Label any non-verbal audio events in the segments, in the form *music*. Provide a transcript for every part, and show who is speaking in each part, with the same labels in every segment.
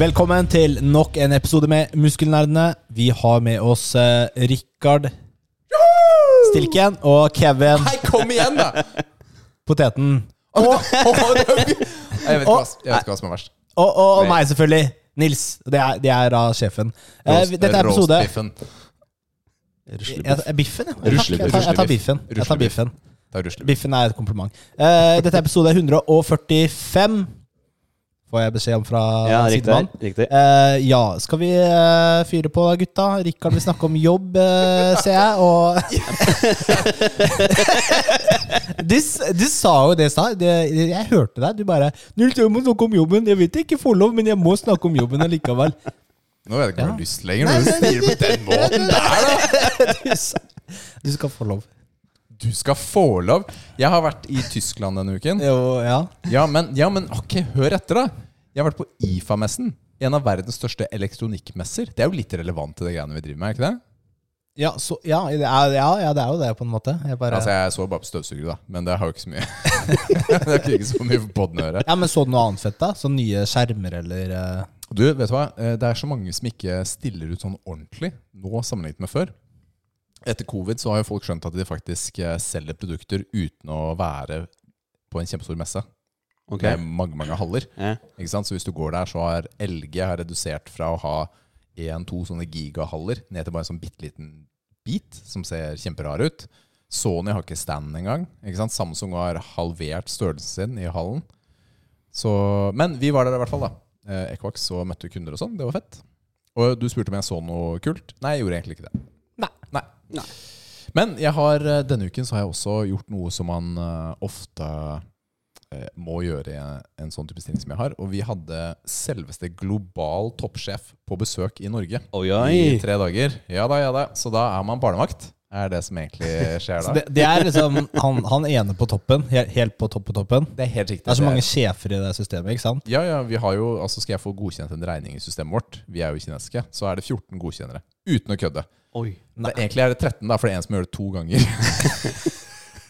Speaker 1: Velkommen til nok en episode med Muskelnerdene. Vi har med oss eh, Rikard Stilken og Kevin
Speaker 2: Nei, kom igjen, da!
Speaker 1: Poteten.
Speaker 2: Åh, åh, det er jo gøy. jeg vet ikke hva, jeg vet ikke hva som er verst.
Speaker 1: Og, og, og meg, selvfølgelig. Nils. Det er, det er da sjefen. Eh, vi- dette er episode
Speaker 2: Roastbiffen.
Speaker 1: Jeg- jeg- Biffen, ja. Jeg tar-
Speaker 2: Ruslebiff.
Speaker 1: jeg tar- Jeg tar biffen. Jeg tar
Speaker 2: Ruslebiff.
Speaker 1: biffen.
Speaker 2: Ta ruslebiff.
Speaker 1: Biffen er et kompliment. Eh, Dette er episode 145. Får jeg beskjed om fra
Speaker 3: Ja, riktig.
Speaker 1: sidemann.
Speaker 3: riktig.
Speaker 1: Eh, ja, skal vi eh, fyre på da, gutta? Rikard vil snakke om jobb, eh, ser jeg. Og *laughs* du, s- du sa jo det i stad. Det- Jeg hørte deg. Du bare 'Nils, jeg må snakke om jobben'. Jeg vet jeg ikke får lov, men jeg må snakke om jobben allikevel. *laughs*
Speaker 2: Nå vet jeg ikke om jeg har
Speaker 1: Ja.
Speaker 2: lyst lenger, når du sier det på den måten der, da!
Speaker 1: Du sa- Du skal få lov.
Speaker 2: Du skal få lov. Jeg har vært i Tyskland denne uken.
Speaker 1: Jo, ja.
Speaker 2: Ja, men, ja, men ok, hør etter, da. Jeg har vært på IFA-messen. En av verdens største elektronikkmesser. Det er jo litt relevant til det greiene vi driver med, er ikke det?
Speaker 1: Ja, så, ja, det er, ja, ja, det er jo det, på en måte. Jeg bare,
Speaker 2: Altså, jeg så bare på støvsugere, da. Men det har jo ikke så mye *laughs* Det er ikke så mye for podden å gjøre.
Speaker 1: ja, men Så du noe annet fett, da? Sånn nye skjermer, eller eh,
Speaker 2: Du, vet du hva? Eh, Det er så mange som ikke stiller ut sånn ordentlig nå sammenlignet med før. Etter covid så har jo folk skjønt at de faktisk eh, selger produkter uten å være på en kjempestor messe.
Speaker 3: Ok.
Speaker 2: Med mange, mange haller.
Speaker 3: Ja.
Speaker 2: Ikke sant? Så hvis du går der, så har LG har redusert fra å ha én-to sånne gigahaller ned til bare en sånn bitte liten bit som ser kjemperar ut. Sony har ikke stand engang. Ikke sant? Samsung har halvert størrelsen sin i hallen. Så, men vi var der i hvert fall, da. Eh, Equax og møtte kunder og sånn. Det var fett. Og du spurte om jeg så noe kult. Nei, jeg gjorde egentlig ikke det.
Speaker 1: Nei.
Speaker 2: Nei. Men jeg har, eh, denne uken så har jeg også gjort noe som man eh, ofte eh, må gjøre i en sånn type stilling som jeg har. Og vi hadde selveste global toppsjef på besøk i Norge
Speaker 3: Oi,
Speaker 2: i
Speaker 3: oi.
Speaker 2: tre dager. Ja da, ja da. Så da er man barnevakt. Er det som egentlig skjer
Speaker 1: så
Speaker 2: da.
Speaker 1: det, det er liksom han, han ene på toppen. he- Helt på topp på toppen.
Speaker 2: Det er helt riktig.
Speaker 1: Det er så
Speaker 2: Det er-
Speaker 1: mange sjefer i det systemet, ikke sant?
Speaker 2: Ja, ja, vi har jo, altså skal jeg få godkjent en regning i systemet vårt, vi er jo kinesiske, så er det 14 godkjennere. Uten å kødde.
Speaker 3: oi.
Speaker 2: Det, egentlig er det 13, da, for det er en som gjør det to
Speaker 1: *laughs*
Speaker 2: ganger.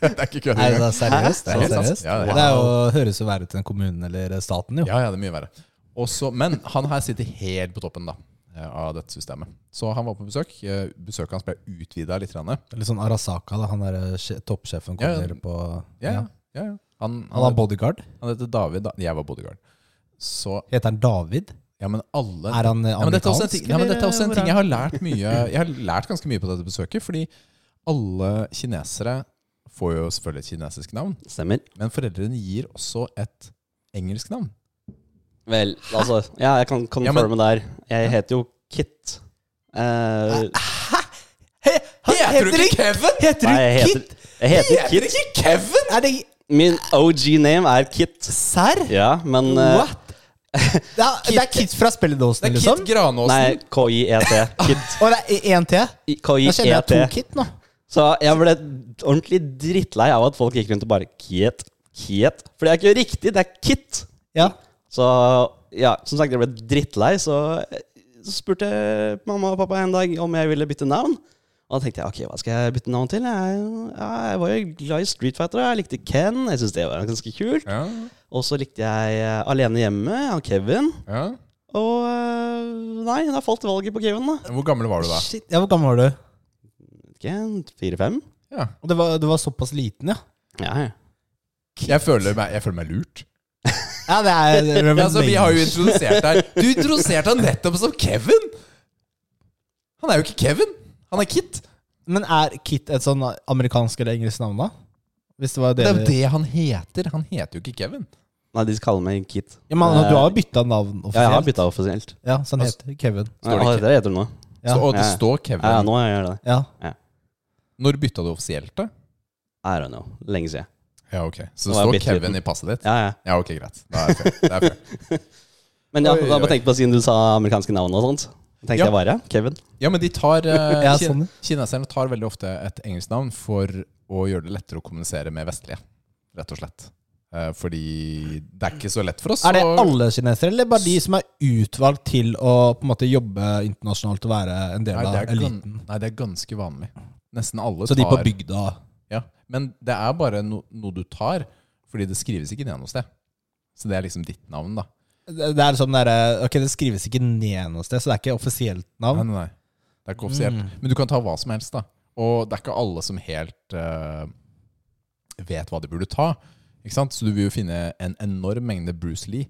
Speaker 2: det er ikke kødd
Speaker 1: Nei, det
Speaker 2: engang.
Speaker 1: er seriøst.
Speaker 2: Hæ?
Speaker 1: Det, er
Speaker 2: Det er helt
Speaker 1: seriøst.
Speaker 2: sant. Ja,
Speaker 1: det er jo, høres jo verre ut enn kommunen eller staten, jo.
Speaker 2: Ja, ja, det er mye verre. Og så- men han her sitter helt på toppen da, eh, av dette systemet. Så han var på besøk. eh, Besøket hans ble utvida litt. grann.
Speaker 1: Litt sånn Arasaka, da, han der sje- toppsjefen
Speaker 2: Ja,
Speaker 1: kommer på
Speaker 2: Ja, ja.
Speaker 1: ja.
Speaker 2: ja, ja.
Speaker 1: Han
Speaker 2: Han,
Speaker 1: har
Speaker 2: han,
Speaker 1: bodyguard.
Speaker 2: han heter David. Da. Jeg var bodyguard. Så
Speaker 1: Heter han David?
Speaker 2: Ja, men alle
Speaker 1: Er han eh,
Speaker 2: Ja, men dette er også en
Speaker 1: amerikansk?
Speaker 2: ting, ja, men dette er også en
Speaker 1: eller
Speaker 2: ting jeg har lært mye Jeg har lært ganske mye på dette besøket, fordi alle kinesere får jo selvfølgelig et kinesisk navn,
Speaker 3: Stemmer.
Speaker 2: men foreldrene gir også et engelsk navn.
Speaker 3: Vel, altså Ja, jeg kan
Speaker 2: Ja, men-
Speaker 3: confirme der. Jeg heter jo Kit.
Speaker 1: Ah,
Speaker 3: Eh,
Speaker 1: Han heter ikke
Speaker 2: Kevin!
Speaker 1: Heter
Speaker 3: nei,
Speaker 1: du
Speaker 3: jeg heter,
Speaker 1: Kit?
Speaker 3: jeg heter Kit.
Speaker 2: ikke Kevin!
Speaker 1: Er det
Speaker 3: Min OG-name er Kit.
Speaker 1: serr?
Speaker 3: Ja, men eh,
Speaker 2: *laughs*
Speaker 1: What? Det er, det er Kit fra
Speaker 2: Det
Speaker 1: spilledåsen,
Speaker 2: er
Speaker 1: liksom?
Speaker 2: Kit Granåsen.
Speaker 3: Nei, KIET. Kit.
Speaker 1: Og det er én til?
Speaker 3: I-
Speaker 1: Da kjenner jeg to
Speaker 3: KIET.
Speaker 1: Kit nå.
Speaker 3: Så jeg ble ordentlig drittlei av at folk gikk rundt og bare Kit, Kit. For det er ikke riktig, det er Kit.
Speaker 1: Ja.
Speaker 3: Så ja, som sagt, jeg ble drittlei, så, så spurte mamma og pappa en dag om jeg ville bytte navn. Og da tenkte jeg ok, hva skal jeg bytte navn til? Jeg, ja, jeg var jo glad i Street Fighter, og jeg likte Ken. Jeg syntes det var ganske kult.
Speaker 2: Ja,
Speaker 3: Og så likte jeg eh, Alene hjemme av Kevin.
Speaker 2: ja.
Speaker 3: Og eh, nei, da falt valget på Kevin, da.
Speaker 2: Hvor gammel var du da?
Speaker 1: Shit, ja, Hvor gammel var du?
Speaker 3: Ken, Fire-fem?
Speaker 2: Ja.
Speaker 1: Og Det var, det var såpass liten, ja?
Speaker 3: Ja, ja.
Speaker 2: Jeg, føler meg, jeg føler meg lurt.
Speaker 1: Ja, det
Speaker 2: *laughs*
Speaker 1: er
Speaker 2: Altså, vi har jo introdusert deg Du introduserte han nettopp som Kevin! Han er jo ikke Kevin! Han er Kit.
Speaker 1: Men er Kit et sånn amerikansk eller engelsk navn, da? Hvis det var
Speaker 2: Det
Speaker 1: det,
Speaker 2: er jo det han heter. Han heter jo ikke Kevin.
Speaker 3: Nei, de kaller meg Kit. Eh,
Speaker 1: ja, men, altså, Du har jo bytta navn
Speaker 3: Ja, jeg har
Speaker 1: offisielt?
Speaker 3: bytta offisielt.
Speaker 1: Ja, så han heter Kevin.
Speaker 3: Nei,
Speaker 2: Står det
Speaker 3: ah,
Speaker 2: Kit?
Speaker 3: det heter det nå.
Speaker 1: Ja.
Speaker 2: Så, Altså, og det
Speaker 3: Ja.
Speaker 2: står Kevin.
Speaker 1: Mm.
Speaker 3: Ja, ja, nå gjør jeg det.
Speaker 1: Ja.
Speaker 2: Når bytta du offisielt, da?
Speaker 3: I don't know. Lenge siden.
Speaker 2: Ja, ok Så det
Speaker 3: Nå er jeg
Speaker 2: står
Speaker 3: bitte
Speaker 2: Kevin
Speaker 3: liten.
Speaker 2: i passet ditt?
Speaker 3: Ja, ja.
Speaker 2: Ja, ok, greit. Da er det fair. Det er fair.
Speaker 3: Men ja,
Speaker 2: Oi,
Speaker 3: da
Speaker 2: oi.
Speaker 3: bare tenk på siden du sa amerikanske navn og sånt. Tenkte
Speaker 2: Ja.
Speaker 3: jeg bare, Kevin.
Speaker 2: Ja, men de tar eh,
Speaker 1: *laughs* Ja,
Speaker 2: kin
Speaker 1: sånn.
Speaker 2: Kineserne tar veldig ofte et engelsk navn for å gjøre det lettere å kommunisere med vestlige, rett og slett. Eh, fordi det er ikke så lett for oss.
Speaker 1: Er det
Speaker 2: å-
Speaker 1: alle kinesere, eller bare de som er utvalgt til å på en måte jobbe internasjonalt og være en del
Speaker 2: Nei, det
Speaker 1: av
Speaker 2: er, gan-
Speaker 1: eliten?
Speaker 2: nei, det er ganske vanlig. Nesten alle
Speaker 1: Så de på
Speaker 2: tar
Speaker 1: bygda
Speaker 2: ja. Men det er bare no, noe du tar, fordi det skrives ikke ned noe sted. Så det er liksom ditt navn, da.
Speaker 1: Det det er sånn derre Ok, det skrives ikke ned noe sted, så det er ikke offisielt
Speaker 2: Nei,
Speaker 1: navn.
Speaker 2: nei, nei. Det er ikke offisielt. Men du kan ta hva som helst, da. Og det er ikke alle som helt eh, vet hva de burde ta. Ikke sant? Så du vil jo finne en enorm mengde Bruce Lee,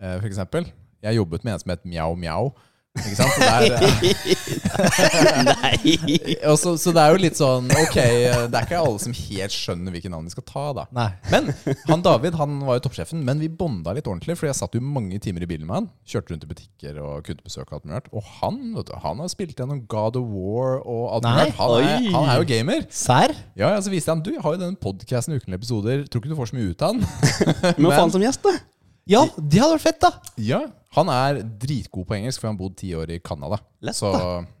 Speaker 2: eh, for eksempel. Jeg jobbet med en som het Mjau Mjau. Ikke sant? Så det er, *laughs*
Speaker 3: Nei! *laughs*
Speaker 2: og så, så det er jo litt sånn Ok, eh, det er ikke alle som helt skjønner hvilke navn de skal ta, da.
Speaker 1: Nei.
Speaker 2: Men han David han var jo toppsjefen, men vi bonda litt ordentlig. For jeg satt jo mange timer i bilen med han. Kjørte rundt i butikker og kundebesøk. Og alt mulig rart. Og han vet du, han har spilt gjennom God of War og alt mulig
Speaker 1: Nei.
Speaker 2: rart. Han, er-
Speaker 3: Oi.
Speaker 2: han er jo gamer.
Speaker 1: Serr?
Speaker 2: Ja, ja, Så viste jeg han du, jeg har jo denne podkasten ukentlige episoder. Tror ikke du får så mye ut av
Speaker 3: *laughs*
Speaker 2: han.
Speaker 3: Men hva faen som gjest, da?
Speaker 1: Ja, det hadde vært fett, da!
Speaker 2: ja, Han er dritgod på engelsk, for han bodde ti år i Canada.
Speaker 3: Lett,
Speaker 2: Så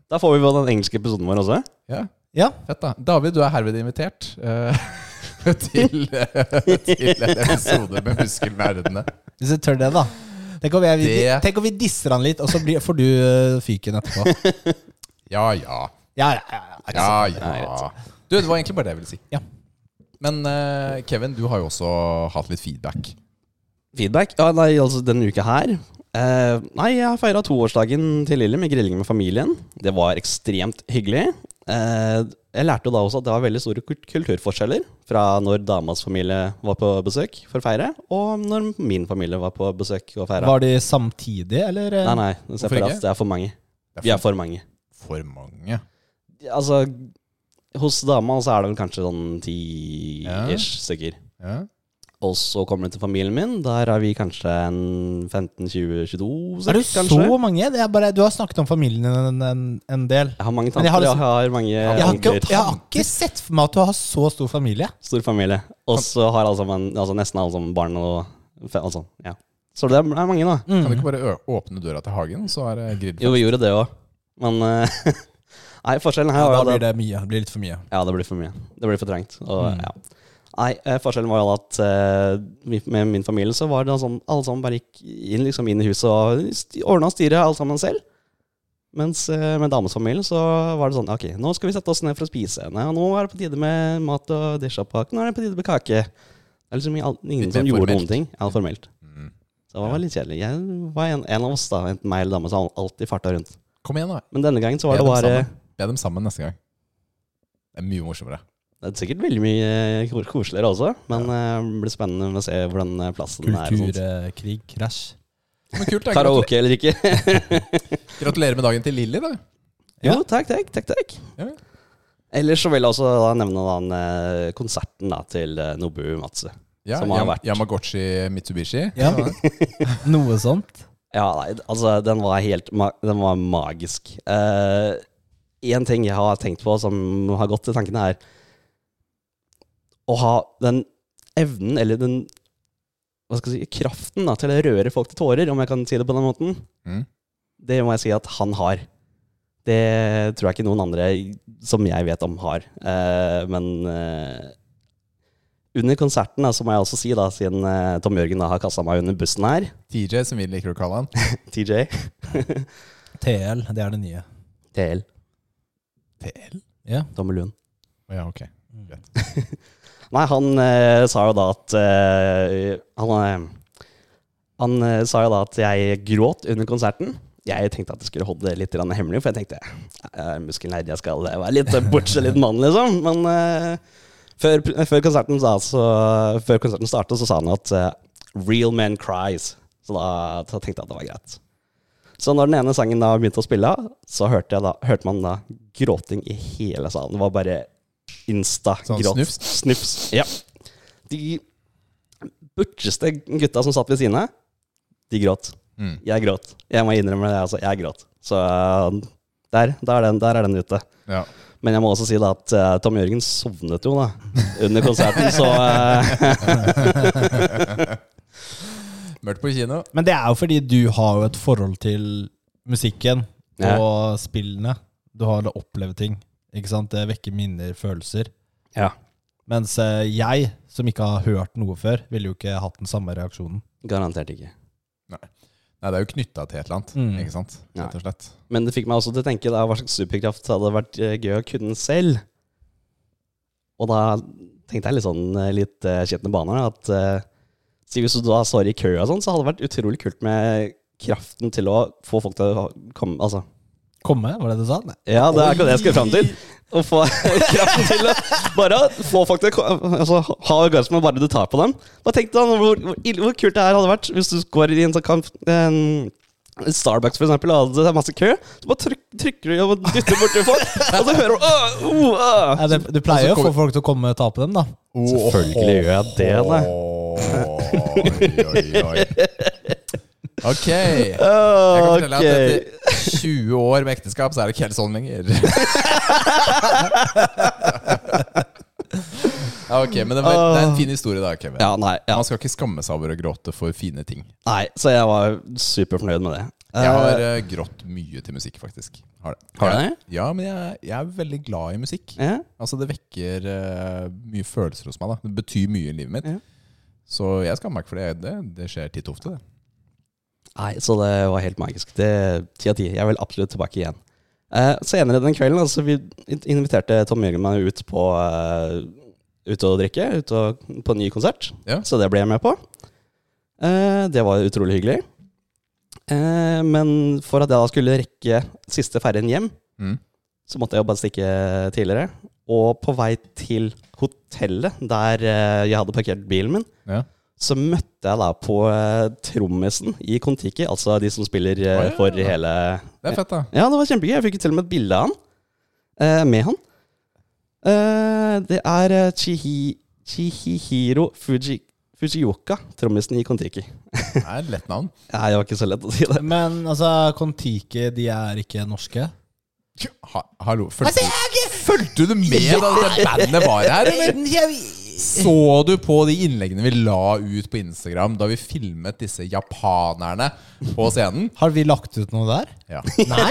Speaker 3: Da får vi vel den engelske episoden vår også.
Speaker 2: ja,
Speaker 1: Ja.
Speaker 2: fett, da. David, du er herved invitert. eh, *laughs* til, eh, til en episode med muskelnerdene.
Speaker 1: Hvis du tør det, da. Tenk om, jeg,
Speaker 2: Det-
Speaker 1: tenk om vi disser han litt, og så blir, får du øh, fyken etterpå.
Speaker 2: Ja, ja.
Speaker 1: Ja, ja, ja, ja.
Speaker 2: Ja,
Speaker 3: Nei,
Speaker 2: ja. Du, det var egentlig bare det jeg ville si.
Speaker 1: Ja.
Speaker 2: Men eh, Kevin, du har jo også hatt litt feedback.
Speaker 3: Feedback? Ja, nei, altså denne uka her eh, Nei, jeg har feira toårsdagen til Lilly med grilling med familien. Det var ekstremt hyggelig. Eh, jeg lærte jo da også at det var veldig store kul- kulturforskjeller fra når damas familie var på besøk for å feire, og når min familie var på besøk og feira.
Speaker 1: Var de samtidig, eller? øh?
Speaker 3: Nei, nei, det er
Speaker 2: Hvorfor
Speaker 3: separat.
Speaker 2: ikke?
Speaker 3: Det er for mange.
Speaker 2: Det
Speaker 3: Vi
Speaker 2: er
Speaker 3: er for mange.
Speaker 2: for, for mange.
Speaker 3: Altså, hos dama så er det vel kanskje sånn ti-ish stykker.
Speaker 2: Ja.
Speaker 3: Og så kommer det til familien min. Der er vi kanskje en 15-20-22,
Speaker 1: Er du
Speaker 3: kanskje.
Speaker 1: så mange? Det er bare, du har snakket om familien en, en, en del.
Speaker 3: Jeg har mange
Speaker 1: Men
Speaker 3: tanter,
Speaker 1: jeg
Speaker 3: jeg
Speaker 1: har
Speaker 3: har,
Speaker 1: liksom-
Speaker 3: mange
Speaker 1: Jeg har, ikke,
Speaker 3: onkler.
Speaker 1: jeg har ikke sett for meg at du har så stor familie.
Speaker 3: Stor familie. Og så har alle sammen, altså nesten alle sammen barn og fe- altså, ja. Så det er er mange, da.
Speaker 2: Kan du ikke bare ø- åpne døra til hagen, så er det grill?
Speaker 3: Jo, vi gjorde det òg, men eh, *laughs* Nei, forskjellen
Speaker 1: Ja,
Speaker 3: her var
Speaker 1: da blir
Speaker 3: jo at
Speaker 1: det mye. Det blir litt for mye.
Speaker 3: Ja, det blir for mye. Det blir for trangt. Og,
Speaker 2: Mm.
Speaker 3: ja. Nei, eh, forskjellen var jo at eh, vi- med min familie så var det sånn alle sammen bare gikk inn, liksom inn i huset og st- ordna styret alt sammen selv. Mens eh, med dames familie så var det sånn Ok, nå skal vi sette oss ned for å spise. Nei, og nå er det på tide med mat og dish og pakke. Nå er det på tide med kake. Det er liksom al- ingen
Speaker 2: Litt
Speaker 3: som
Speaker 2: mer
Speaker 3: gjorde
Speaker 2: formelt.
Speaker 3: noen ting. Ja, formelt.
Speaker 2: Mm.
Speaker 3: Så det var litt kjedelig. Jeg var en, en av oss, da, enten meg eller dama, som alltid farta rundt.
Speaker 2: Kom igjen, da.
Speaker 3: Men denne gangen så
Speaker 2: Be
Speaker 3: var
Speaker 2: dem
Speaker 3: det bare
Speaker 2: sammen. Be dem sammen neste gang. Det er mye morsommere.
Speaker 3: Det er sikkert veldig mye eh, ko- koseligere også, men eh, det blir spennende å se hvordan eh, plassen er. og sånt.
Speaker 1: Kulturkrig, eh, krasj.
Speaker 2: Men kult, da. Gratulerer,
Speaker 3: Karaoke eller ikke.
Speaker 2: gratulerer med dagen til Lilly, da.
Speaker 1: Ja.
Speaker 3: Jo, takk, takk. takk, takk.
Speaker 2: Ja.
Speaker 3: Ellers så vil jeg også da nevne den eh, konserten da, til eh, Nobu Matsu.
Speaker 2: Ja,
Speaker 3: Som har
Speaker 2: Yam-
Speaker 3: vært.
Speaker 2: Yamagotchi Mitsubishi.
Speaker 3: *laughs*
Speaker 1: Ja. Noe sånt.
Speaker 3: Ja, nei, altså, den var helt ma den var magisk. Én ting jeg har tenkt på som har gått til tankene, er å ha den evnen, eller den hva skal jeg si, kraften da, til å røre folk til tårer, om jeg kan si det på den måten.
Speaker 2: Mm.
Speaker 3: Det må jeg si at han har. Det tror jeg ikke noen andre som jeg vet om, har. Eh, men eh, under konserten, da, så må jeg også si, da, siden eh, Tom Jørgen da, har kasta meg under bussen her,
Speaker 2: TJ, som vi liker å kalle han.
Speaker 3: *laughs* TJ
Speaker 1: TL, det er det nye.
Speaker 3: TL,
Speaker 2: TL?
Speaker 1: Ja.
Speaker 3: Tommy Lund.
Speaker 2: Ja, ok.
Speaker 3: Nei, han eh, sa jo da at eh, Han, eh, han eh, sa jo da at jeg gråt under konserten. Jeg tenkte at jeg skulle holde det litt grann hemmelig, for jeg tenkte eh, muskelnerd, jeg skal være litt bortskjemt litt mann, liksom. Men eh, før, før, konserten sa, så, før konserten startet, så sa han at eh, real men cries. Så da, da tenkte jeg at det var greit. Så når den ene sangen da begynte å spille, så hørte, jeg da, hørte man da gråting i hele salen. Det var bare
Speaker 2: Sånn
Speaker 3: insta-gråt.
Speaker 2: snufs?
Speaker 3: Snufs. Ja. De butcheste gutta som satt ved siden av, de gråt.
Speaker 2: Mm.
Speaker 3: Jeg gråt. Jeg må innrømme det, altså. Jeg gråt. Så eh, der, der, er den, der er den ute.
Speaker 2: Ja.
Speaker 3: Men jeg må også si da at eh, Tom Jørgen sovnet jo da under konserten, så eh,
Speaker 2: Mørkt på kino.
Speaker 1: Men det er jo fordi du har jo et forhold til musikken og
Speaker 3: Ja.
Speaker 1: spillene. Du har da opplevd ting. Ikke sant? Det vekker minner, følelser.
Speaker 3: Ja.
Speaker 1: Mens eh, jeg, som ikke har hørt noe før, ville jo ikke hatt den samme reaksjonen.
Speaker 3: Garantert ikke.
Speaker 2: Nei, det er jo knytta til et eller annet,
Speaker 1: Mm.
Speaker 2: ikke sant? Rett og slett.
Speaker 3: Men det fikk meg også til å tenke da, hva slags superkraft hadde vært eh, gøy å kunne selv. Og da tenkte jeg litt sånn eh, litt eh, skjetne baner. da, At eh, si hvis du da står i kø og sånn, så hadde det vært utrolig kult med kraften til å få folk til å komme Altså.
Speaker 1: Komme, var det du sa? Nei.
Speaker 3: Ja, det er akkurat det jeg skal fram til. Å få *laughs* kraften til å bare få folk til å ko- altså, ha orgasme bare du tar på dem. Bare tenk deg hvor, hvor, ille- hvor kult det her hadde vært hvis du går i en sånn kamp en Starbucks for eksempel, og det er masse kø. Så bare tryk, trykker du og dytter borti
Speaker 2: *laughs*
Speaker 3: folk, og så hører du «Åh, oh, åh».
Speaker 1: Nei, det, du pleier jo
Speaker 2: Og så
Speaker 1: å få folk til å komme og ta på dem, da.
Speaker 3: Selvfølgelig gjør jeg det, da.
Speaker 2: Oi, oi,
Speaker 3: *laughs*
Speaker 2: oi. Ok. Jeg kan fortelle
Speaker 3: Ok.
Speaker 2: at etter 20 år med ekteskap, så er det ikke helt sånn
Speaker 3: *laughs*
Speaker 2: lenger. Ja, ok, men det, var, det er en fin historie, da, Kevin.
Speaker 3: Ja, nei, ja,
Speaker 2: Man skal ikke skamme seg over å gråte for fine ting.
Speaker 3: nei. Så jeg var superfornøyd med det.
Speaker 2: Jeg har eh, grått mye til musikk, faktisk. Har, det.
Speaker 3: Har du det?
Speaker 2: Ja, men jeg, jeg er veldig glad i musikk.
Speaker 3: Ja,
Speaker 2: Altså, det vekker eh, mye følelser hos meg. da Det betyr mye i livet mitt.
Speaker 3: Ja.
Speaker 2: Så jeg skammer meg ikke for det. Det, det skjer titt og ofte, det.
Speaker 3: Nei, så det var helt magisk. Det Ti av ti. Jeg vil absolutt tilbake igjen. Eh, senere den kvelden altså, vi inviterte Tom Jørgen meg ut på eh, Ut og drikke. Ut og, på en ny konsert.
Speaker 2: Ja.
Speaker 3: Så det ble jeg med på. Eh, det var utrolig hyggelig. Eh, men for at jeg da skulle rekke siste ferjen hjem,
Speaker 2: Mm.
Speaker 3: så måtte jeg jo bare stikke tidligere. Og på vei til hotellet der eh, jeg hadde parkert bilen min,
Speaker 2: Ja.
Speaker 3: så møtte jeg da på eh, trommisen i Kon-Tiki, altså de som spiller eh,
Speaker 2: Å, ja.
Speaker 3: for hele
Speaker 2: Det er fett, da.
Speaker 3: Ja, det var kjempegøy. Jeg fikk til og med et bilde av han. eh, med han. Eh, det er eh, Chihi, Chihihiro Fuji, Fujioka, trommisen i Kon-Tiki.
Speaker 2: Det er et lett navn.
Speaker 3: Nei, det var ikke så lett å si det.
Speaker 1: Men altså, Kon-Tiki, de er ikke norske.
Speaker 2: Ha, hallo, fulgte,
Speaker 3: Altså,
Speaker 2: fulgte du med da dette bandet var her, eller? Så du på de innleggene vi la ut på Instagram da vi filmet disse japanerne på scenen?
Speaker 1: Har vi lagt ut noe der?
Speaker 2: Ja,
Speaker 1: Nei?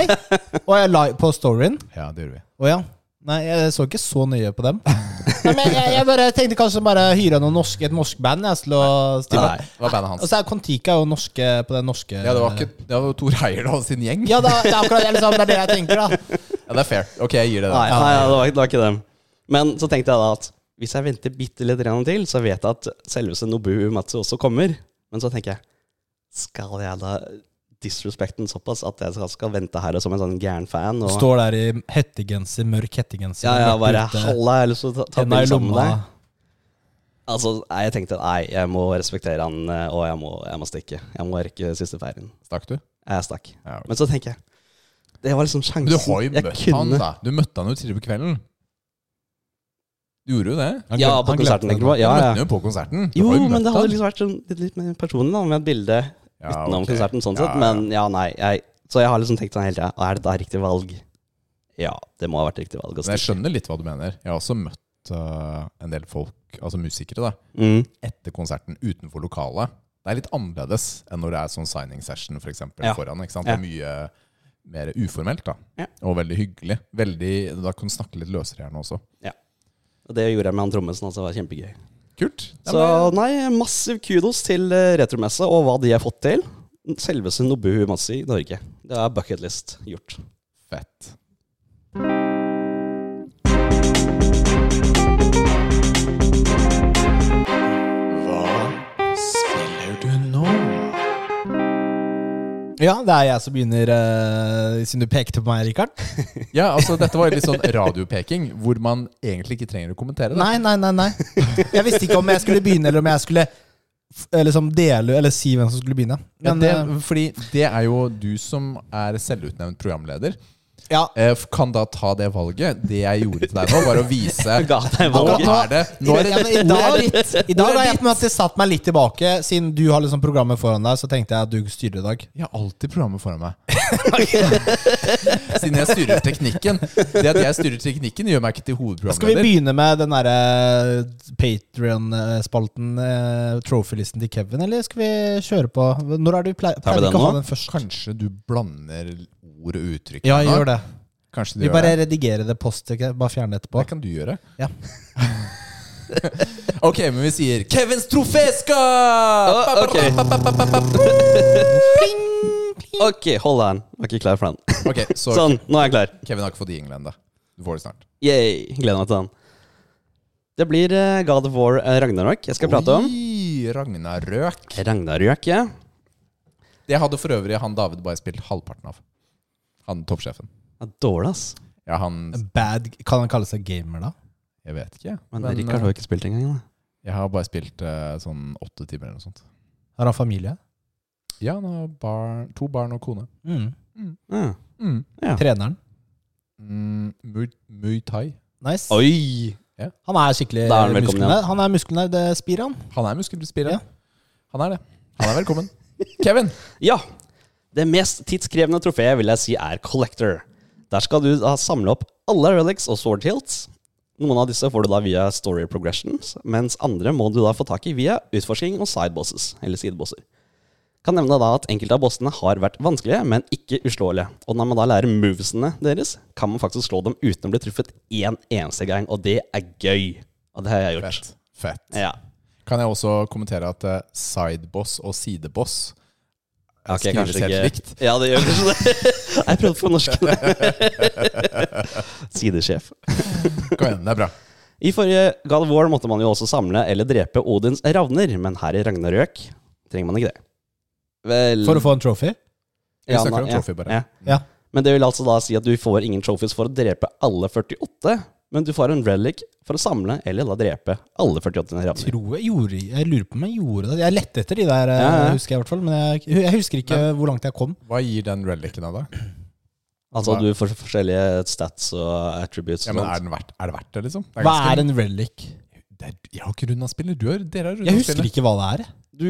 Speaker 1: Og jeg la på storyen?
Speaker 2: ja det gjorde vi.
Speaker 1: Å ja. Nei, jeg så ikke så nøye på dem. Nei, men jeg, jeg bare tenkte kanskje bare hyre noe norsk, et norsk band. Jeg, til å stille
Speaker 3: Nei. Altså-
Speaker 2: Det var bandet hans.
Speaker 1: Og så er Kon-Tiki er jo norske på den norske
Speaker 2: Ja, det var ikke Det var Tor Heyerdahl sin gjeng. Ja,
Speaker 1: Ja, da, det er akkurat det, liksom, det er det jeg tenker, da.
Speaker 2: det er fair. Ok, jeg gir det
Speaker 3: Nei,
Speaker 2: der.
Speaker 3: nei, det, var, det var ikke dem. Men så tenkte jeg da at hvis jeg venter bitte litt grann til, så vet jeg at selveste Nobu Umatsu også kommer. Men så tenker jeg Skal jeg da disrespekte den såpass at jeg skal, skal vente her som en sånn gæren fan? Og,
Speaker 1: Står der i hettegenser, mørk hettegenser.
Speaker 3: ja, ja,
Speaker 1: vært
Speaker 3: bare
Speaker 1: ute,
Speaker 3: Halla, jeg har lyst til å ta, ta
Speaker 1: henda i
Speaker 3: bilde sammen med
Speaker 1: lomma.
Speaker 3: deg. Altså, nei, jeg tenkte nei, jeg må respektere han, eh, og jeg må, jeg må stikke. Jeg må rekke siste ferien.
Speaker 2: Stakk du?
Speaker 3: Jeg stakk.
Speaker 2: Ja, ok.
Speaker 3: Men så tenker jeg Det var liksom sjansen.
Speaker 2: Men du har jo
Speaker 3: Jeg
Speaker 2: møtt
Speaker 3: kunne-
Speaker 2: han, da. Du møtte han jo tidligere på kvelden. Du gjorde jo det.
Speaker 1: Han glemte-
Speaker 3: Ja, på
Speaker 1: han glemte
Speaker 3: konserten.
Speaker 1: det
Speaker 3: tenker
Speaker 1: nå.
Speaker 3: du på?
Speaker 2: du
Speaker 3: Ja,
Speaker 2: møtte
Speaker 3: ja.
Speaker 2: han jo på konserten. Du
Speaker 3: Jo,
Speaker 2: har
Speaker 3: men
Speaker 2: møtt
Speaker 3: det hadde
Speaker 2: han.
Speaker 3: liksom vært sånn, litt, litt mer personlig da, med et bilde
Speaker 2: Ja,
Speaker 3: utenom
Speaker 2: ok.
Speaker 3: konserten. sånn
Speaker 2: Ja, ja.
Speaker 3: sett, Men ja, nei. Jeg, så jeg har liksom tenkt sånn hele tida Er dette riktig valg? Ja, det må ha vært riktig valg. altså. å
Speaker 2: Men jeg
Speaker 3: stikke.
Speaker 2: skjønner litt hva du mener. Jeg har også møtt øh, en del folk, altså musikere, da,
Speaker 3: Mm.
Speaker 2: etter konserten utenfor lokalet. Det er litt annerledes enn når det er sånn signing session for eksempel,
Speaker 3: Ja.
Speaker 2: foran. ikke sant? Det er mye mer uformelt da,
Speaker 3: Ja.
Speaker 2: og veldig hyggelig. Veldig, da kan du snakke litt løsere gjerne også.
Speaker 3: Og det gjorde jeg med han trommisen. Altså, det var kjempegøy.
Speaker 2: Kult. Ja,
Speaker 3: Så
Speaker 2: men-
Speaker 3: nei, massiv kudos til eh, Retromessa og hva de har fått til. Selveste Nobu Massi i Norge. Det er bucketlist gjort. *laughs*
Speaker 2: Fett. Hva spiller du nå?
Speaker 1: Ja, det er jeg som begynner, eh, siden du pekte på meg, Rikard.
Speaker 2: Ja, altså Dette var litt sånn radiopeking, hvor man egentlig ikke trenger å kommentere. det.
Speaker 1: Nei, nei, nei, nei. Jeg visste ikke om jeg skulle begynne, eller om jeg skulle f- eh, liksom dele eller si hvem som skulle begynne.
Speaker 2: Ja,
Speaker 1: Men,
Speaker 2: det,
Speaker 1: eh,
Speaker 2: fordi det er jo du som er selvutnevnt programleder.
Speaker 1: Ja.
Speaker 2: Eh, f- kan da ta det valget. Det jeg gjorde til deg nå, var å
Speaker 1: *laughs*
Speaker 2: vise
Speaker 3: Ga deg
Speaker 2: Nå
Speaker 3: valget.
Speaker 2: er det Nå
Speaker 1: Ja,
Speaker 2: er det
Speaker 1: men I dag, i dag har jeg på en måte satt meg litt tilbake, siden du har liksom programmet foran deg. Så tenkte jeg at du styrer i dag.
Speaker 2: Jeg har alltid programmet foran
Speaker 3: *laughs*
Speaker 2: meg. Siden jeg styrer teknikken. Det at jeg styrer teknikken, gjør meg ikke til
Speaker 1: Skal vi
Speaker 2: hovedprogramleder.
Speaker 1: begynne med den derre Patrion-spalten, eh, trofylisten til Kevin, eller skal vi kjøre på? Når er det vi pleier,
Speaker 3: Tar vi
Speaker 1: pleier
Speaker 3: den
Speaker 1: ikke å ha
Speaker 3: nå?
Speaker 1: den først?
Speaker 2: Kanskje du blander ord og uttrykk?
Speaker 1: Ja, gjør det.
Speaker 2: Kanskje du
Speaker 1: Vi
Speaker 2: gjør
Speaker 1: bare
Speaker 2: det.
Speaker 1: redigerer det post, ikke? bare fjerne det etterpå.
Speaker 2: Det kan du gjøre.
Speaker 1: Ja.
Speaker 2: *laughs* ok, men vi sier Kevins trofeska!
Speaker 3: Å, ok. Ok, hold an. Var ikke klar for den.
Speaker 2: *laughs* Ok, så
Speaker 3: Sånn, nå er jeg klar.
Speaker 2: Kevin har ikke fått de jinglene ennå. Du får det snart.
Speaker 3: Yay. Gleder meg til den. Det blir eh, God of War eh, Ragnarok jeg skal prate om.
Speaker 2: Oi, Ragnarøk.
Speaker 3: Ragnarok, ja.
Speaker 2: Det hadde for øvrig han David bare spilt halvparten av. Han toppsjefen.
Speaker 3: ja dårlig, ass.
Speaker 2: Ja, han
Speaker 1: Bad, kan han kalle seg gamer, da?
Speaker 2: Jeg vet ikke.
Speaker 3: Men, eh,
Speaker 2: Men, eh,
Speaker 3: Rikard har jo ikke spilt engang. da.
Speaker 2: Jeg har bare spilt eh, sånn åtte timer eller noe sånt.
Speaker 1: Har han familie?
Speaker 2: Ja, han har barn, to barn og kone.
Speaker 1: Mm.
Speaker 3: Ja.
Speaker 2: Mm.
Speaker 1: Treneren?
Speaker 2: Muay, Mm, muay thai.
Speaker 1: Nice.
Speaker 3: Oi!
Speaker 1: Han er skikkelig
Speaker 3: Da er han velkommen
Speaker 1: muskelnerd. Han er muskelnerd, det spir han.
Speaker 2: Han er muskelspirer.
Speaker 1: Ja.
Speaker 2: Han er det. Han er velkommen. *laughs* Kevin!
Speaker 3: Ja. Det mest tidskrevende trofeet vil jeg si er Collector. Der skal du da samle opp alle relics og sword hilts. Noen av disse får du da via story progressions, mens andre må du da få tak i via utforsking og sidebosses, eller sidebosser. Kan nevne da at enkelte av bossene har vært vanskelige, men ikke uslåelige. Og når man da lærer movesene deres, kan man faktisk slå dem uten å bli truffet én eneste gang, og det er gøy. Og det har jeg gjort.
Speaker 2: Fett. Fett.
Speaker 3: Ja.
Speaker 2: Kan jeg også kommentere at eh, sideboss og sideboss
Speaker 3: Ok,
Speaker 2: skrives
Speaker 3: kanskje
Speaker 2: helt
Speaker 3: ikke-
Speaker 2: likt?
Speaker 3: Ja, det gjør kanskje *laughs* det. Jeg prøvde å få norsk *laughs* Sidesjef.
Speaker 2: Kom igjen, det er bra.
Speaker 3: I forrige God of War måtte man jo også samle eller drepe Odins ravner, men her i Ragnarøk trenger man ikke det. Vel
Speaker 1: *laughs* For å få en trophy?
Speaker 2: Vi
Speaker 3: Ja,
Speaker 2: snakker
Speaker 3: nei,
Speaker 2: om
Speaker 3: ja,
Speaker 2: trophy, bare.
Speaker 3: ja.
Speaker 1: Ja.
Speaker 3: Men det vil altså da si at du får ingen trophies for å drepe alle 48, men du får en relic for å samle eller da drepe alle 48 ravner.
Speaker 1: Tror jeg gjorde Jeg lurer på om jeg gjorde det. Jeg lette etter de der, eh,
Speaker 3: Ja, ja.
Speaker 1: husker jeg i hvert fall. Men jeg, jeg husker ikke hvor langt jeg kom.
Speaker 2: Hva gir den relicen av da?
Speaker 3: Altså du får forskjellige stats og attributes
Speaker 2: Ja,
Speaker 3: og
Speaker 2: men
Speaker 3: sånt.
Speaker 2: er, den verdt, er det verdt det, liksom? Det
Speaker 1: Hva
Speaker 2: ganske-
Speaker 1: er en relic?
Speaker 2: det er, Jeg har ikke runda spillet. Du har, dere har runda
Speaker 1: Jeg husker ikke hva det er.
Speaker 3: Du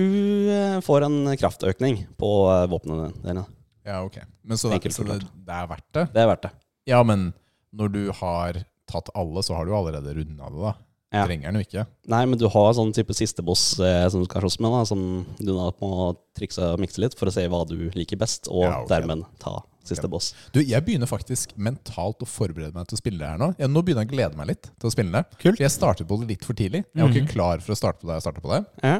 Speaker 3: eh, får en kraftøkning på eh, våpnene dine.
Speaker 2: Ja, ok. Men så, det,
Speaker 3: Enkelt
Speaker 2: så det, det er verdt det?
Speaker 3: Det er verdt det.
Speaker 2: Ja, men når du har tatt alle, så har du allerede runda det, da.
Speaker 3: Ja.
Speaker 2: Trenger den jo ikke.
Speaker 3: Nei, men du har sånn type siste boss eh, som du skal slåss med, da, som du da må trikse og mikse litt for å se hva du liker best, og
Speaker 2: Ja, ok.
Speaker 3: dermed ta siste
Speaker 2: Ok.
Speaker 3: boss.
Speaker 2: Du, jeg begynner faktisk mentalt å forberede meg til å spille det her nå. Jeg, nå begynner jeg å glede meg litt til å spille det.
Speaker 1: Kult.
Speaker 2: For Jeg startet på det litt for tidlig. Jeg var
Speaker 3: Mhm.
Speaker 2: ikke klar for å starte på det jeg startet på det.
Speaker 3: Ja.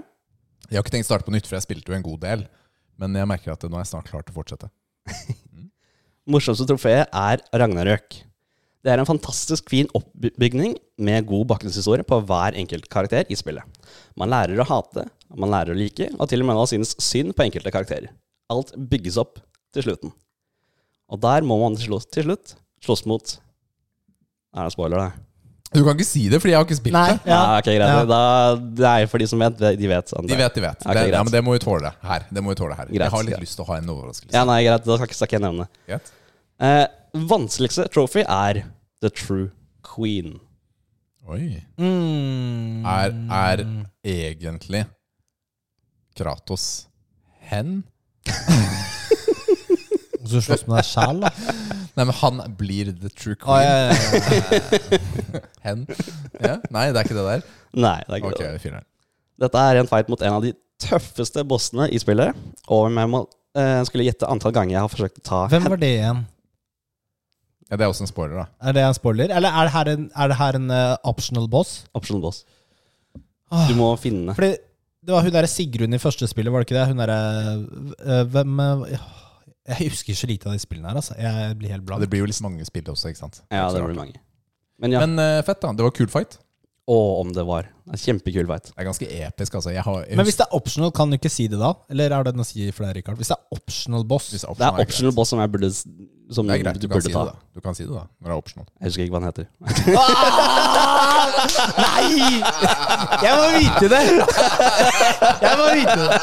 Speaker 2: Jeg har ikke tenkt å starte på nytt, for jeg spilte jo en god del. Men jeg merker at nå er jeg snart klar til å fortsette.
Speaker 3: Morsomste trofeet er Ragnarøk. Det er en fantastisk fin oppbygning med god bakgrunnshistorie på hver enkelt karakter i spillet. Man lærer å hate, man lærer å like, og til og med da synes synd på enkelte karakterer. Alt bygges opp til slutten. Og der må man til slutt, til slutt slåss mot Er det en spoiler, det?
Speaker 2: Du kan ikke si det, fordi jeg har ikke spilt det.
Speaker 3: Ja, ok, greit. Da, det er jo for de som vet, de vet. Sånn,
Speaker 2: De vet, de vet.
Speaker 3: Ok,
Speaker 2: det, ja,
Speaker 3: greit.
Speaker 2: men det må vi tåle her. Det må vi tåle her.
Speaker 3: Greit,
Speaker 2: jeg har litt
Speaker 3: greit.
Speaker 2: lyst til å ha en overraskelse.
Speaker 3: Ja, nei, greit, da skal ikke, skal ikke jeg nevne det.
Speaker 2: Greit?
Speaker 3: Eh, vanskeligste trophy er The True Queen.
Speaker 2: Oi.
Speaker 1: Mm.
Speaker 2: Er, er egentlig Kratos hen?
Speaker 1: Så slåss med deg sjæl, da.
Speaker 2: Nei, men han blir the true queen.
Speaker 1: Ah, ja, ja, ja.
Speaker 2: Hen? Ja? Nei, det er ikke det der.
Speaker 3: Nei, det er ikke
Speaker 2: Ok,
Speaker 3: det.
Speaker 2: fireren.
Speaker 3: Dette er en fight mot en av de tøffeste bossene i spillet. Og om jeg må, eh, skulle gjette antall ganger jeg har forsøkt å ta
Speaker 1: Hvem var det igjen?
Speaker 2: Ja, det er også en spoiler, da.
Speaker 1: Er det en spoiler? Eller er det her en, er det her en eh, optional boss?
Speaker 3: optional boss.
Speaker 1: Ah.
Speaker 3: Du må finne
Speaker 1: Fordi det var hun derre Sigrun i første spillet, var det ikke det? Hun derre øh, Hvem øh, Jeg husker så lite av de spillene her, altså. Jeg blir helt
Speaker 2: Ja,
Speaker 1: blank.
Speaker 2: det blir jo litt mange spill også, ikke sant?
Speaker 3: Ja,
Speaker 2: ikke
Speaker 3: det
Speaker 2: så
Speaker 3: blir
Speaker 2: rart.
Speaker 3: mange. Men ja,
Speaker 2: Men eh, fett, da. Det var kul fight.
Speaker 3: og om det var. Det er en Kjempekul fight.
Speaker 2: Det er ganske episk, altså. Jeg har, jeg
Speaker 1: Men hvis det er optional, kan du ikke si det da? Eller er det noe å si for deg, Rikard? Hvis det er optional boss
Speaker 2: husker- hvis
Speaker 3: Det er
Speaker 2: greit.
Speaker 3: optional boss som jeg burde Som
Speaker 2: Det er greit, du
Speaker 3: du
Speaker 2: kan
Speaker 3: burde
Speaker 2: si det,
Speaker 3: ta.
Speaker 2: da. Du kan si det, da. Når det er optional.
Speaker 3: Jeg husker ikke hva den heter. *laughs*
Speaker 1: Ah, Nei! Jeg må vite det! Jeg må vite det.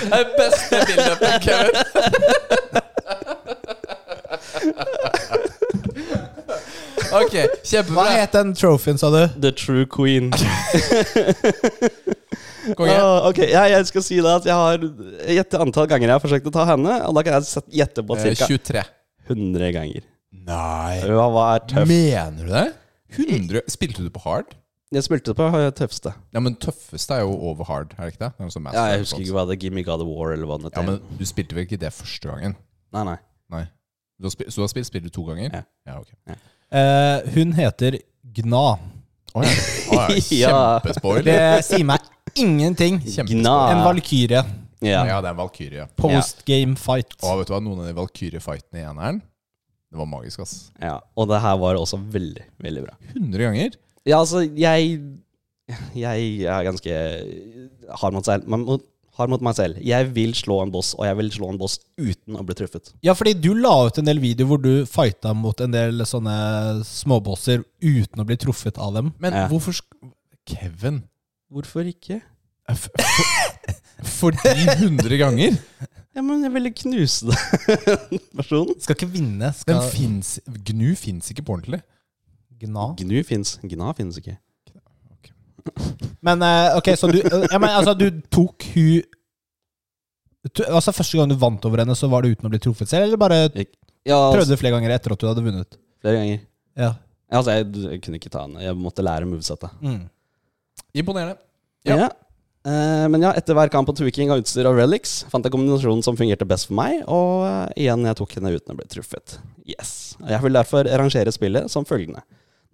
Speaker 2: Det er beste bildet på Kevin. *laughs* Ok,
Speaker 1: Hva
Speaker 2: kjempebra.
Speaker 1: het den trophyen, sa du?
Speaker 3: The true queen.
Speaker 2: Konge.
Speaker 3: Ah, ok, ja, Jeg skal si det at jeg har Gjett antall ganger jeg har forsøkt å ta henne. Og da kan jeg sett- gjette på
Speaker 2: Eh,
Speaker 3: ca.
Speaker 2: 23.
Speaker 3: 100 ganger.
Speaker 2: Nei.
Speaker 3: Hva hva er tøff?
Speaker 2: Mener du det? 100 Spilte du på hard?
Speaker 3: Jeg spilte på eh, tøffeste.
Speaker 2: Ja, men tøffeste er jo over hard, er det ikke det? det er jo sånn
Speaker 3: Ja,
Speaker 2: Master
Speaker 3: jeg husker ikke hva det er. Gimme God of War eller hva det
Speaker 2: Ja,
Speaker 3: heter.
Speaker 2: men du spilte vel ikke det første gangen?
Speaker 3: Nei, nei.
Speaker 2: Nei. Du har spilt, så du har spilt spillet to ganger?
Speaker 3: Ja.
Speaker 2: ok.
Speaker 1: Eh, hun heter Gna.
Speaker 2: Å ja. Å, ja.
Speaker 3: *laughs* Ja.
Speaker 2: Kjempespoil.
Speaker 1: Det sier meg ingenting.
Speaker 2: Kjempe...
Speaker 3: Gna.
Speaker 1: En valkyrje.
Speaker 3: Ja.
Speaker 2: Ja, det er en valkyrje.
Speaker 1: Post game fight.
Speaker 2: Å, vet du hva? Noen av de valkyrjefightene i eneren, det var magisk, ass.
Speaker 3: ja. Og det her var også veldig, veldig bra.
Speaker 2: 100 ganger?
Speaker 3: Ja, altså, jeg Jeg er ganske hard mot, selv, man må- hard mot meg selv. Jeg vil slå en boss, og jeg vil slå en boss uten å bli truffet.
Speaker 1: Ja, fordi du la ut en del videoer hvor du fighta mot en del sånne småbosser uten å bli truffet av dem.
Speaker 2: Men
Speaker 3: Ja.
Speaker 2: hvorfor sk Kevin. eh,
Speaker 3: Hvorfor ikke?
Speaker 2: F *laughs* fordi 100 ganger?
Speaker 3: Ja, men jeg ville knuse den *laughs* personen.
Speaker 1: Skal ikke vinne.
Speaker 2: Den
Speaker 1: Skal
Speaker 2: finnes, Gnu fins ikke på ordentlig.
Speaker 1: gna.
Speaker 3: Gnu fins. Gna fins ikke.
Speaker 1: Men eh, ok, så du eh, ja, men, altså, du tok hun tu- Altså Første gang du vant over henne, så var det uten å bli truffet selv? Eller bare
Speaker 3: Ja, altså,
Speaker 1: prøvde du flere ganger etter at du hadde vunnet?
Speaker 3: flere ganger.
Speaker 1: altså- Ja.
Speaker 3: Ja, Altså, jeg, jeg kunne ikke ta den. Jeg måtte lære movesettet.
Speaker 1: Mm.
Speaker 2: Imponerende. Ja.
Speaker 3: Ja. Eh, men ja, etter hver kamp og tweaking av utstyr og relics fant jeg kombinasjonen som fungerte best for meg, og eh, igjen jeg tok henne uten å bli truffet. Yes. Og Jeg vil derfor rangere spillet som følgende.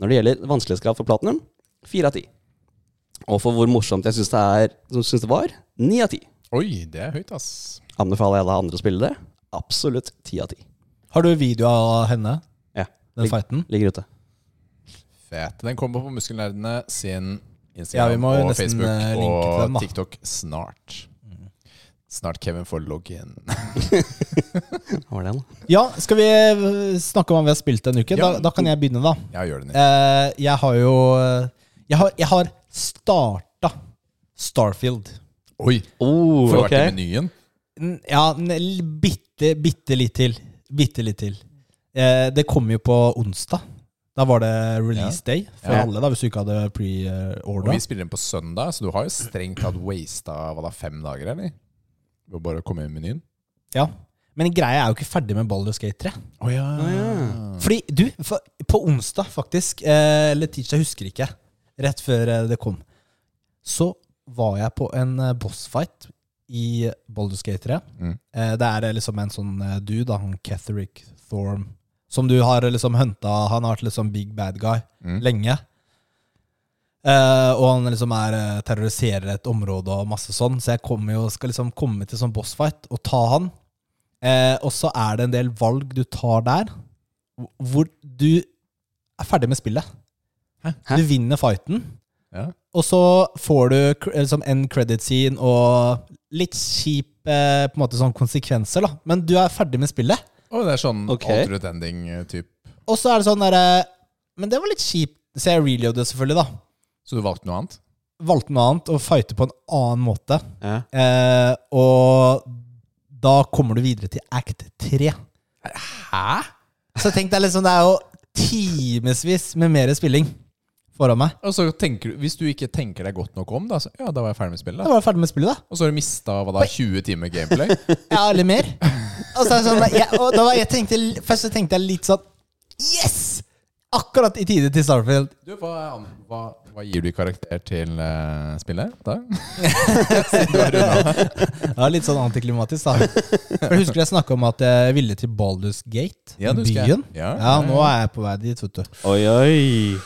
Speaker 3: Når det gjelder vanskelighetsgrad for platinum, fire av ti. Og for hvor morsomt jeg syns det, er- som synes det var, ni av ti.
Speaker 2: Oi, det er høyt, ass.
Speaker 3: Anbefaler jeg alle andre å spille det? Absolutt ti av ti.
Speaker 1: Har du video av henne?
Speaker 3: Ja.
Speaker 1: Den fighten?
Speaker 3: Ligger ute.
Speaker 2: Fett. Den kommer på Muskelnerdene sin
Speaker 1: Ja, vi
Speaker 2: Instagram
Speaker 1: må jo
Speaker 2: og
Speaker 1: nesten,
Speaker 2: Facebook
Speaker 1: eh, linke til den,
Speaker 2: og
Speaker 1: da. Mm.
Speaker 2: TikTok snart. Snart Kevin får login. *laughs*
Speaker 3: Hva var det nå?
Speaker 1: Ja, skal vi eh, snakke om hva vi har spilt denne uken?
Speaker 2: Ja.
Speaker 1: Da, da kan jeg begynne, da.
Speaker 2: Ja, gjør den.
Speaker 1: Eh, jeg har jo eh, Jeg har, jeg har starta Starfield.
Speaker 2: Oi!
Speaker 3: Oh,
Speaker 2: Får
Speaker 3: ok.
Speaker 2: vært i menyen.
Speaker 1: N- Ja, n- l- bitte, bitte litt til. Bitte litt til. Eh, det kom jo på onsdag. Da var det release day for
Speaker 2: Ja.
Speaker 1: alle, da, hvis du ikke hadde
Speaker 2: Og
Speaker 1: pre-orda.
Speaker 2: vi spiller den på søndag, så du har jo strengt tatt wasta hva da, fem dager, eller? Ved bare å komme inn i menyen.
Speaker 1: Ja. Men greia er jo ikke ferdig med Baldur's Gate 3.
Speaker 2: Å ja.
Speaker 1: Fordi, du, for, på onsdag faktisk, eh, eller tirsdag, husker ikke, rett før eh, det kom, så var jeg på en eh, bossfight i Baldur's Gate 3.
Speaker 2: Mm.
Speaker 1: Eh, det er eh, liksom en sånn eh, dude, da, han Catherick Thorm, som du har eh, liksom hunta, han har vært liksom big bad guy
Speaker 2: Mm.
Speaker 1: lenge. Eh, og han liksom er eh, terroriserer et område og masse sånn, så jeg kommer jo, skal liksom komme til sånn bossfight og ta han. Eh, og så er det en del valg du tar der, hvor- hvor du er ferdig med spillet.
Speaker 3: Hæ?
Speaker 1: Du vinner fighten,
Speaker 2: ja.
Speaker 1: og så får du cr- liksom en credit scene og litt kjip eh, på en måte sånn konsekvenser, da. Men du er ferdig med spillet.
Speaker 2: Å, det er sånn eh,
Speaker 3: Ok.
Speaker 2: alternate ending-type.
Speaker 1: Og så er det sånn derre Men det var litt kjipt. Så jeg reloader selvfølgelig, da.
Speaker 2: Så du valgte noe annet?
Speaker 1: Valgte noe annet og fighter på en annen måte.
Speaker 3: Ja.
Speaker 1: Eh, og da kommer du videre til act 3.
Speaker 2: Hæ?
Speaker 1: Så tenk deg liksom, det er jo timevis med mer spilling foran meg.
Speaker 2: Og så tenker du, Hvis du ikke tenker deg godt nok om, da så ja, da var jeg ferdig med spillet.
Speaker 1: Da var jeg ferdig med spillet, da.
Speaker 2: Og så har du mista hva da, 20 timer gameplay?
Speaker 1: Ja, eller mer. Og, så er det sånn, jeg, og da var jeg tenkte, først så tenkte jeg litt sånn Yes! Akkurat i tide til Starfield.
Speaker 2: Du, hva, er an- hva, hva gir du i karakter til eh, spillet? da?
Speaker 1: Ja, Litt sånn antiklimatisk, da. For jeg husker jeg snakka om at jeg ville til Baldus Gate,
Speaker 2: *laughs* Ja, det husker jeg.
Speaker 1: byen.
Speaker 2: Ja,
Speaker 1: ja,
Speaker 2: ja,
Speaker 1: nå er jeg på vei dit, vet du.
Speaker 3: Oi, oi.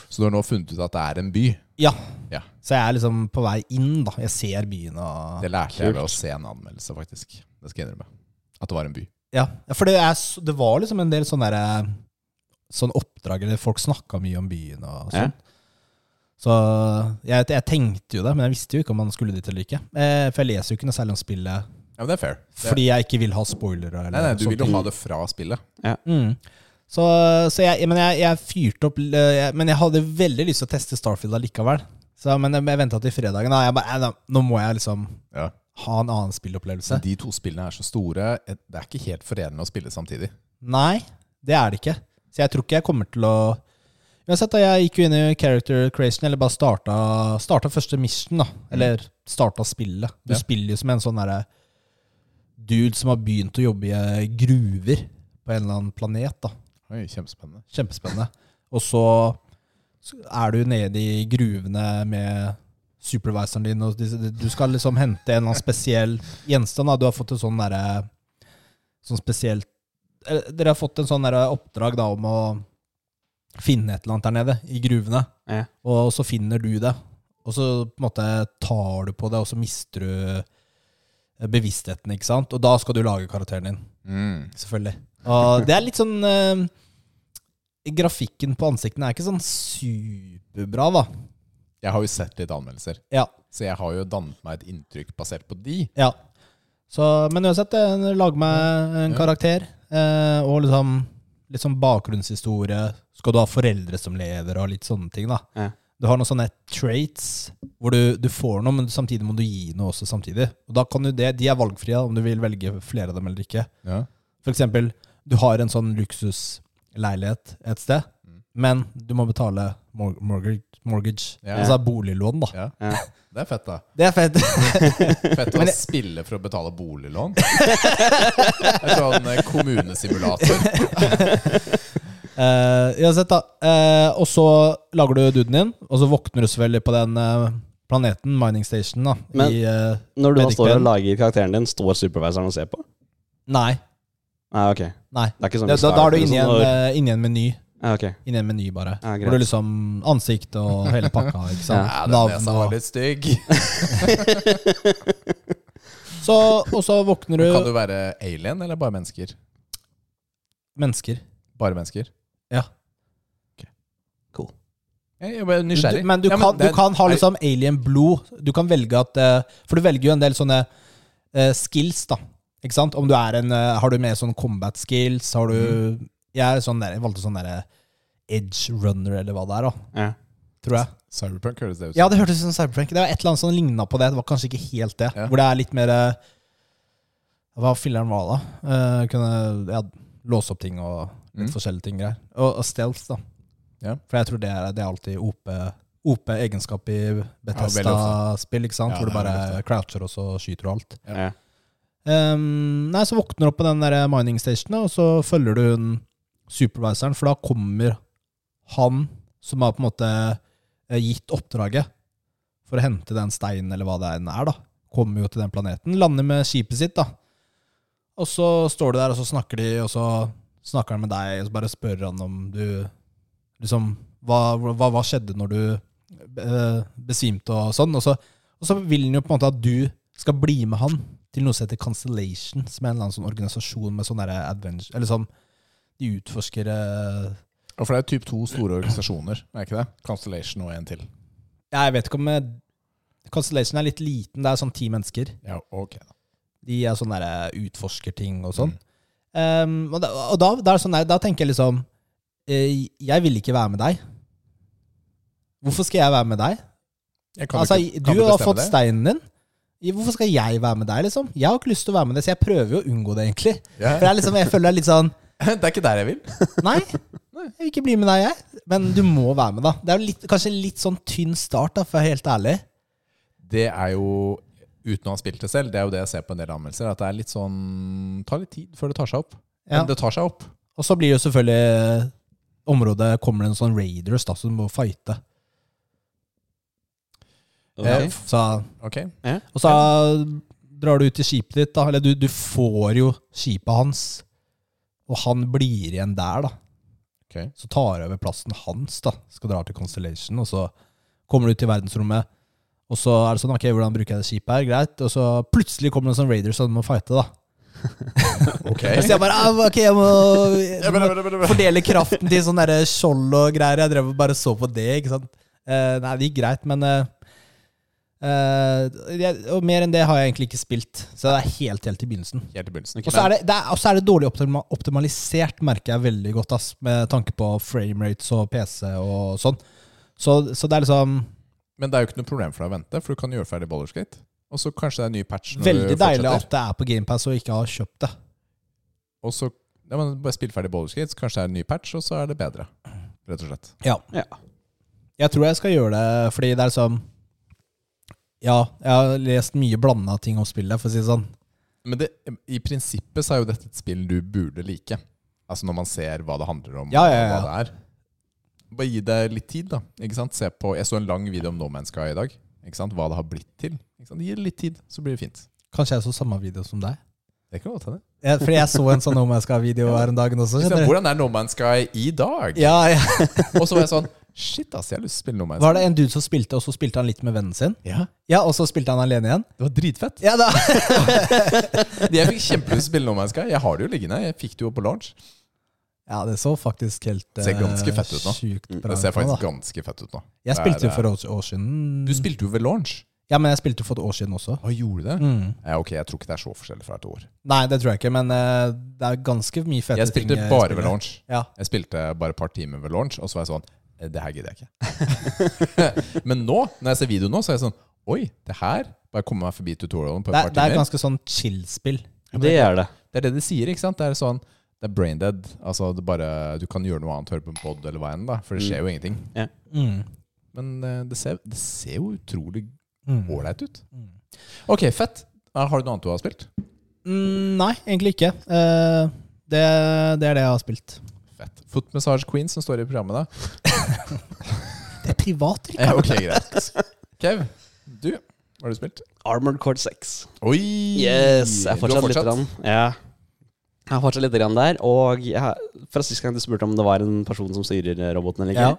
Speaker 2: Så du har nå funnet ut at det er en by?
Speaker 1: Ja,
Speaker 2: Ja.
Speaker 1: så jeg er liksom på vei inn, da. Jeg ser byen og
Speaker 2: Det lærte jeg ved
Speaker 3: Kult.
Speaker 2: å se en anmeldelse, faktisk. Det skal jeg innrømme. At det var en by.
Speaker 1: Ja, for det, er, s- det var liksom en del sånne der, eh, Sånn oppdrag eller folk snakka mye om byen og sånn. Så jeg, jeg tenkte jo det, men jeg visste jo ikke om man skulle dit eller ikke. Eh, for jeg leser jo ikke noe særlig om spillet
Speaker 2: Ja, men Det er fair. Det,
Speaker 1: fordi jeg ikke vil ha spoilere. Eller
Speaker 2: nei, nei, Du
Speaker 1: sånne
Speaker 2: vil jo
Speaker 1: ting.
Speaker 2: ha det fra spillet.
Speaker 1: Mm. Så, så jeg, men jeg, jeg fyrte opp eh, jeg, Men jeg hadde veldig lyst til å teste Starfield allikevel. Så, men jeg, jeg venta til fredagen. Da. Jeg bare, "Nei, da, nå må jeg liksom
Speaker 2: Ja.
Speaker 1: ha en annen
Speaker 2: Så
Speaker 1: spillopplevelse.
Speaker 2: de to spillene er så store. Det er ikke helt forenende å spille samtidig.
Speaker 1: Nei, det er det ikke. Så jeg tror ikke jeg kommer til å Uansett, da jeg gikk jo inn i character creation, eller bare starta, starta første mission, da. Eller starta spillet. Du
Speaker 2: Ja.
Speaker 1: spiller jo som en sånn derre dude som har begynt å jobbe i eh, gruver på en eller annen planet, da.
Speaker 2: Oi, kjempespennende.
Speaker 1: Kjempespennende. Og så er du nede i gruvene med supervisoren din, og disse- du skal liksom hente en eller annen spesiell gjenstand. Da. Du har fått en sånn derre Sånn spesielt eller, Dere har fått en sånn derre oppdrag da om å finne et eller annet der nede i gruvene,
Speaker 3: Ja.
Speaker 1: og så finner du det. Og så på en måte tar du på det, og så mister du bevisstheten, ikke sant? Og da skal du lage karakteren din.
Speaker 2: Mm.
Speaker 1: Selvfølgelig. Og det er litt sånn eh, Grafikken på ansiktene er ikke sånn superbra, da.
Speaker 2: Jeg har jo sett litt anmeldelser,
Speaker 1: Ja.
Speaker 2: så jeg har jo dannet meg et inntrykk basert på de.
Speaker 1: ja. Så, men uansett, eh, lag meg en
Speaker 2: Ja.
Speaker 1: karakter. eh, og liksom litt sånn bakgrunnshistorie. Skal du ha foreldre som lever, og litt sånne ting, da.
Speaker 3: Ja.
Speaker 1: Du har noen sånne traits hvor du, du får noe, men samtidig må du gi noe også samtidig. Og da kan du det, De er valgfrie, da, om du vil velge flere av dem eller ikke.
Speaker 2: Ja.
Speaker 1: For eksempel, du har en sånn luksusleilighet et sted,
Speaker 2: Mm.
Speaker 1: men du må betale mor- mortgage, mortgage
Speaker 2: Ja.
Speaker 1: altså boliglån, da.
Speaker 2: Ja.
Speaker 3: Ja.
Speaker 2: Det er fett, da.
Speaker 1: Det er
Speaker 2: *laughs*
Speaker 1: fett.
Speaker 2: Fett å spille for å betale boliglån. *laughs* Det er sånn eh, kommunesimulator.
Speaker 1: Eh, uansett, da. eh, og så lager du duden din, og så våkner du selvfølgelig på den eh, planeten, Mining Station, da.
Speaker 3: Men-
Speaker 1: i, eh,
Speaker 3: Når du da
Speaker 1: Vet ikke
Speaker 3: står
Speaker 1: hvem.
Speaker 3: og lager karakteren din, står supervisoren og ser på?
Speaker 1: nei.
Speaker 3: Nei, ok.
Speaker 1: nei.
Speaker 3: Det er ikke sånn
Speaker 1: Da,
Speaker 3: vi
Speaker 1: da, da er du
Speaker 3: starter,
Speaker 1: inne i en,
Speaker 3: sånn når-
Speaker 1: eh, inne i en meny.
Speaker 3: Ja, ok.
Speaker 1: Inne i en meny, bare.
Speaker 3: Ja, greit.
Speaker 1: Hvor du liksom Ansikt og hele pakka,
Speaker 2: *laughs*
Speaker 1: ikke sant.
Speaker 2: Ja, den
Speaker 1: Navn
Speaker 2: nesa
Speaker 1: og-
Speaker 2: var litt stygg.
Speaker 1: Så, og så våkner
Speaker 2: Kan
Speaker 1: du
Speaker 2: du være alien eller bare mennesker?
Speaker 1: Mennesker.
Speaker 2: Bare mennesker?
Speaker 1: Ja.
Speaker 3: Cool.
Speaker 2: Jeg jeg ble
Speaker 1: Du-
Speaker 2: nysgjerrig.
Speaker 1: Men du,
Speaker 2: Ja,
Speaker 1: kan,
Speaker 2: det er-
Speaker 1: du kan ha
Speaker 2: nei,
Speaker 1: liksom alien-blod. Du kan velge at eh, For du velger jo en del sånne eh, skills, da. Ikke sant? Om du er en eh, Har du med sånn combat skills? Har du Jeg er sånn der, jeg valgte sånn derre edge runner, eller hva det er, da.
Speaker 3: Ja.
Speaker 1: Tror jeg.
Speaker 2: Cyberpunk høres det ut som.
Speaker 1: Ja, det hørtes ut som Cyberprank. Det var et eller annet som ligna på det. Det var kanskje ikke helt det.
Speaker 2: Ja.
Speaker 1: Hvor det er litt mer eh, Hva filleren var da? Eh, kunne ja, låse opp ting og litt
Speaker 2: Mm.
Speaker 1: forskjellige ting greier. Og, og stealth, da.
Speaker 2: Ja.
Speaker 1: For jeg tror det er, det er alltid OP. OP-egenskap i Bethesda-spill, ikke sant?
Speaker 2: Ja,
Speaker 1: Hvor du
Speaker 2: det er
Speaker 1: bare
Speaker 2: veldig ofte.
Speaker 1: croucher, og så skyter du alt.
Speaker 2: Ja.
Speaker 3: Ja.
Speaker 1: Ehm, nei, så våkner du opp på den der mining stationen, og så følger du hun supervisoren, for da kommer han som har på en måte eh, gitt oppdraget for å hente den steinen, eller hva det enn er, da. Kommer jo til den planeten, lander med skipet sitt, da. Og så står du der, og så snakker de, og så snakker han med deg, og så bare spør han om du Liksom, hva, hva, hva skjedde når du eh, besvimte og sånn? Og så, og så vil han jo på en måte at du skal bli med han til noe som heter Cancellation, som er en eller annen sånn organisasjon med sånn derre adventure Eller sånn De utforsker eh,
Speaker 2: Og for det er typ to store organisasjoner, er ikke det? Constellation og en til.
Speaker 1: Jeg vet ikke om eh, Cancellation er litt liten. Det er sånn ti mennesker.
Speaker 2: Ja, ok da.
Speaker 1: De er sånn derre utforskerting og sånn. Ehm, og da, og da, da, er det sånn der, da tenker jeg liksom eh, Jeg vil ikke være med deg. Hvorfor skal jeg være med deg?
Speaker 2: Jeg kan
Speaker 1: Altså,
Speaker 2: ikke-
Speaker 1: du,
Speaker 2: kan
Speaker 1: har
Speaker 2: bestemme
Speaker 1: fått
Speaker 2: det?
Speaker 1: steinen din. I- Hvorfor skal jeg være med deg, liksom? Jeg har ikke lyst til å være med deg, så jeg prøver jo å unngå det, egentlig.
Speaker 2: Ja.
Speaker 1: For jeg, er liksom, jeg føler det er litt sånn
Speaker 2: *laughs* Det er ikke der jeg vil.
Speaker 1: Nei, jeg vil ikke bli med deg, jeg. Men du må være med, da. Det er jo litt, kanskje en litt sånn tynn start, da, for å være helt ærlig.
Speaker 2: Det er jo, uten å ha spilt det selv, det er jo det jeg ser på en del anmeldelser, at det er litt sånn Tar litt tid før det tar seg opp.
Speaker 1: Ja.
Speaker 2: Men det tar seg opp.
Speaker 1: Og så blir jo selvfølgelig eh, området kommer det en sånn raiders, da, så du må fighte.
Speaker 2: Ok.
Speaker 1: Eh, Så,
Speaker 2: Ok.
Speaker 1: og så drar du ut til skipet ditt, da. Eller du, du får jo skipet hans, og han blir igjen der, da.
Speaker 2: Ok.
Speaker 1: Så tar jeg over plassen hans, da. Skal dra til Constellation, og så kommer du ut i verdensrommet. Og så er det sånn, ok, hvordan bruker jeg det skipet her? Greit. Og så plutselig kommer det en sånn raider som må fighte, da. Så jeg bare, ah, ok, jeg må, jeg må fordele kraften til sånn derre skjold og greier. Jeg drev og bare så på det, ikke sant. Eh, nei, det gikk greit, men eh, eh, jeg, Og mer enn det har jeg egentlig ikke spilt. Så det er helt, helt i begynnelsen.
Speaker 2: Helt i begynnelsen.
Speaker 1: Og så er det, det, er, og så er det dårlig optima, optimalisert, merker jeg veldig godt, ass, med tanke på framerates og PC og sånn. Så, så det er liksom
Speaker 2: Men det er jo ikke noe problem for deg å vente, for du kan gjøre ferdig Baldur's Gate. Og så kanskje det er en ny patch. når du
Speaker 1: Veldig deilig
Speaker 2: fortsetter.
Speaker 1: at det er på GamePass og ikke har kjøpt det.
Speaker 2: Og så ja, men bare spill ferdig Baldur's Gate, så kanskje det er en ny patch, og så er det bedre. Rett og slett.
Speaker 1: Ja.
Speaker 3: Ja.
Speaker 1: Jeg tror jeg skal gjøre det, fordi det er sånn Ja, jeg har lest mye blanda ting om spillet, for å si det sånn.
Speaker 2: Men det, i prinsippet så er jo dette et spill du burde like. Altså når man ser hva det handler om,
Speaker 1: Ja, ja, ja.
Speaker 2: og hva det er. Bare gi det litt tid, da. Ikke sant? Se på, jeg så en lang video om No Man's Sky i dag. Ikke sant? Hva det har blitt til. Ikke sant? Gi det litt tid, så blir det fint.
Speaker 1: Kanskje jeg så samme video som deg?
Speaker 2: Det kan godt hende.
Speaker 1: Jeg, fordi jeg så en sånn No Man's Sky-video her om dagen også.
Speaker 2: Ikke sant?
Speaker 1: skjønner du?
Speaker 2: Hvordan er No Man's Sky i dag?
Speaker 1: Ja, ja.
Speaker 2: Og så var jeg sånn Shit, ass, jeg har lyst til å spille No Man's Sky.
Speaker 1: Var det en dude som spilte, og så spilte han litt med vennen sin?
Speaker 2: Ja,
Speaker 1: Ja, og så spilte han alene igjen?
Speaker 2: det var dritfett.
Speaker 1: Ja da!
Speaker 2: Jeg fikk kjempelyst til å spille No Man's Sky. Jeg har det jo liggende. Jeg fikk det jo på launch.
Speaker 1: Ja, det så faktisk helt
Speaker 2: Ser ganske
Speaker 1: eh,
Speaker 2: fett ut nå. Mm,
Speaker 1: Sjukt bra
Speaker 2: Det ser
Speaker 1: ut nå, da.
Speaker 2: faktisk ganske fett ut nå.
Speaker 1: Jeg spilte jo
Speaker 2: Det er- eh,
Speaker 1: for et år siden.
Speaker 2: Du spilte jo ved launch.
Speaker 1: Ja, men jeg spilte jo for et år siden også.
Speaker 2: Hva gjorde det?
Speaker 1: Mm.
Speaker 2: Ja, ok, jeg tror ikke det er så forskjellig fra et år.
Speaker 1: Nei, det tror jeg ikke, men eh, det er ganske mye fete ting.
Speaker 2: Jeg spilte
Speaker 1: eh,
Speaker 2: bare
Speaker 1: spillet.
Speaker 2: ved launch.
Speaker 1: Ja.
Speaker 2: Jeg spilte bare et par timer ved launch, og så var jeg sånn eh, Det her
Speaker 1: *laughs*
Speaker 2: gidder jeg ikke. *laughs* Men nå, når jeg ser videoen nå, så er jeg sånn Oi, det her Bare komme meg forbi tutorialen på et
Speaker 1: Det, er-
Speaker 2: par
Speaker 1: det er
Speaker 2: timer.
Speaker 1: ganske sånn chill-spill.
Speaker 3: Det er det.
Speaker 2: Det er det de sier, ikke sant? Det er sånn Det er brain dead. Altså, det bare Du kan gjøre noe annet, høre på en pod eller hva enn, da. For det skjer jo ingenting.
Speaker 1: Mm.
Speaker 2: Men eh, det ser, det ser jo utrolig
Speaker 1: Mm.
Speaker 2: ålreit ut. Ok, fett. Eh, Har du noe annet du har spilt?
Speaker 1: Mm, nei, egentlig ikke. Eh, det, det er det jeg har spilt.
Speaker 2: Fett. Foot Massage Queen, som står i programmet, da.
Speaker 1: Det er privat, Rikard.
Speaker 2: *laughs* Ja, ok, greit. *laughs* Kev, du, hva har du spilt?
Speaker 3: Armored Core 6.
Speaker 2: Oi!
Speaker 3: Yes, jeg har
Speaker 2: Du
Speaker 3: fortsatt,
Speaker 2: har
Speaker 3: litt grann. Ja. Jeg har fortsatt litt grann der. Og jeg, har- fra sist gang du spurte om det var en person som styrer eh, roboten eller ikke,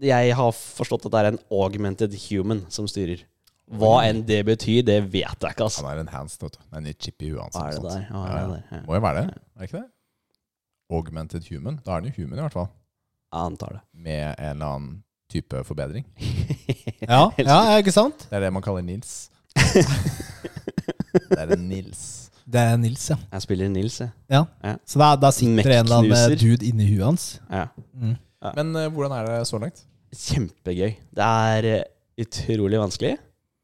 Speaker 3: jeg har forstått at det er en augmented human som styrer. Hva enn det betyr, det vet jeg ikke, altså.
Speaker 2: Han er enhanced, vet du. Det er en ny chip i huet hans.
Speaker 3: Hva er det
Speaker 2: ikke
Speaker 3: der?
Speaker 2: sant?
Speaker 3: Hva er det der? Ja.
Speaker 2: Må jo være det, er det ikke det? Augmented human. Da er han jo human, i hvert fall.
Speaker 3: Jeg antar det. *laughs*
Speaker 2: Med en eller annen type forbedring.
Speaker 1: Ja, ja, ikke sant?
Speaker 2: Det er det man kaller
Speaker 3: *laughs*
Speaker 2: Nils. det er en Nils.
Speaker 1: Det er Nils, ja.
Speaker 3: Jeg spiller Nils, jeg.
Speaker 1: Så der, der sitter det en eller annen eh,
Speaker 3: Mekknuser.
Speaker 1: dude inni huet hans.
Speaker 3: Ja.
Speaker 1: Mm.
Speaker 2: Men eh, hvordan er det så langt?
Speaker 3: Kjempegøy. Det er eh, utrolig vanskelig,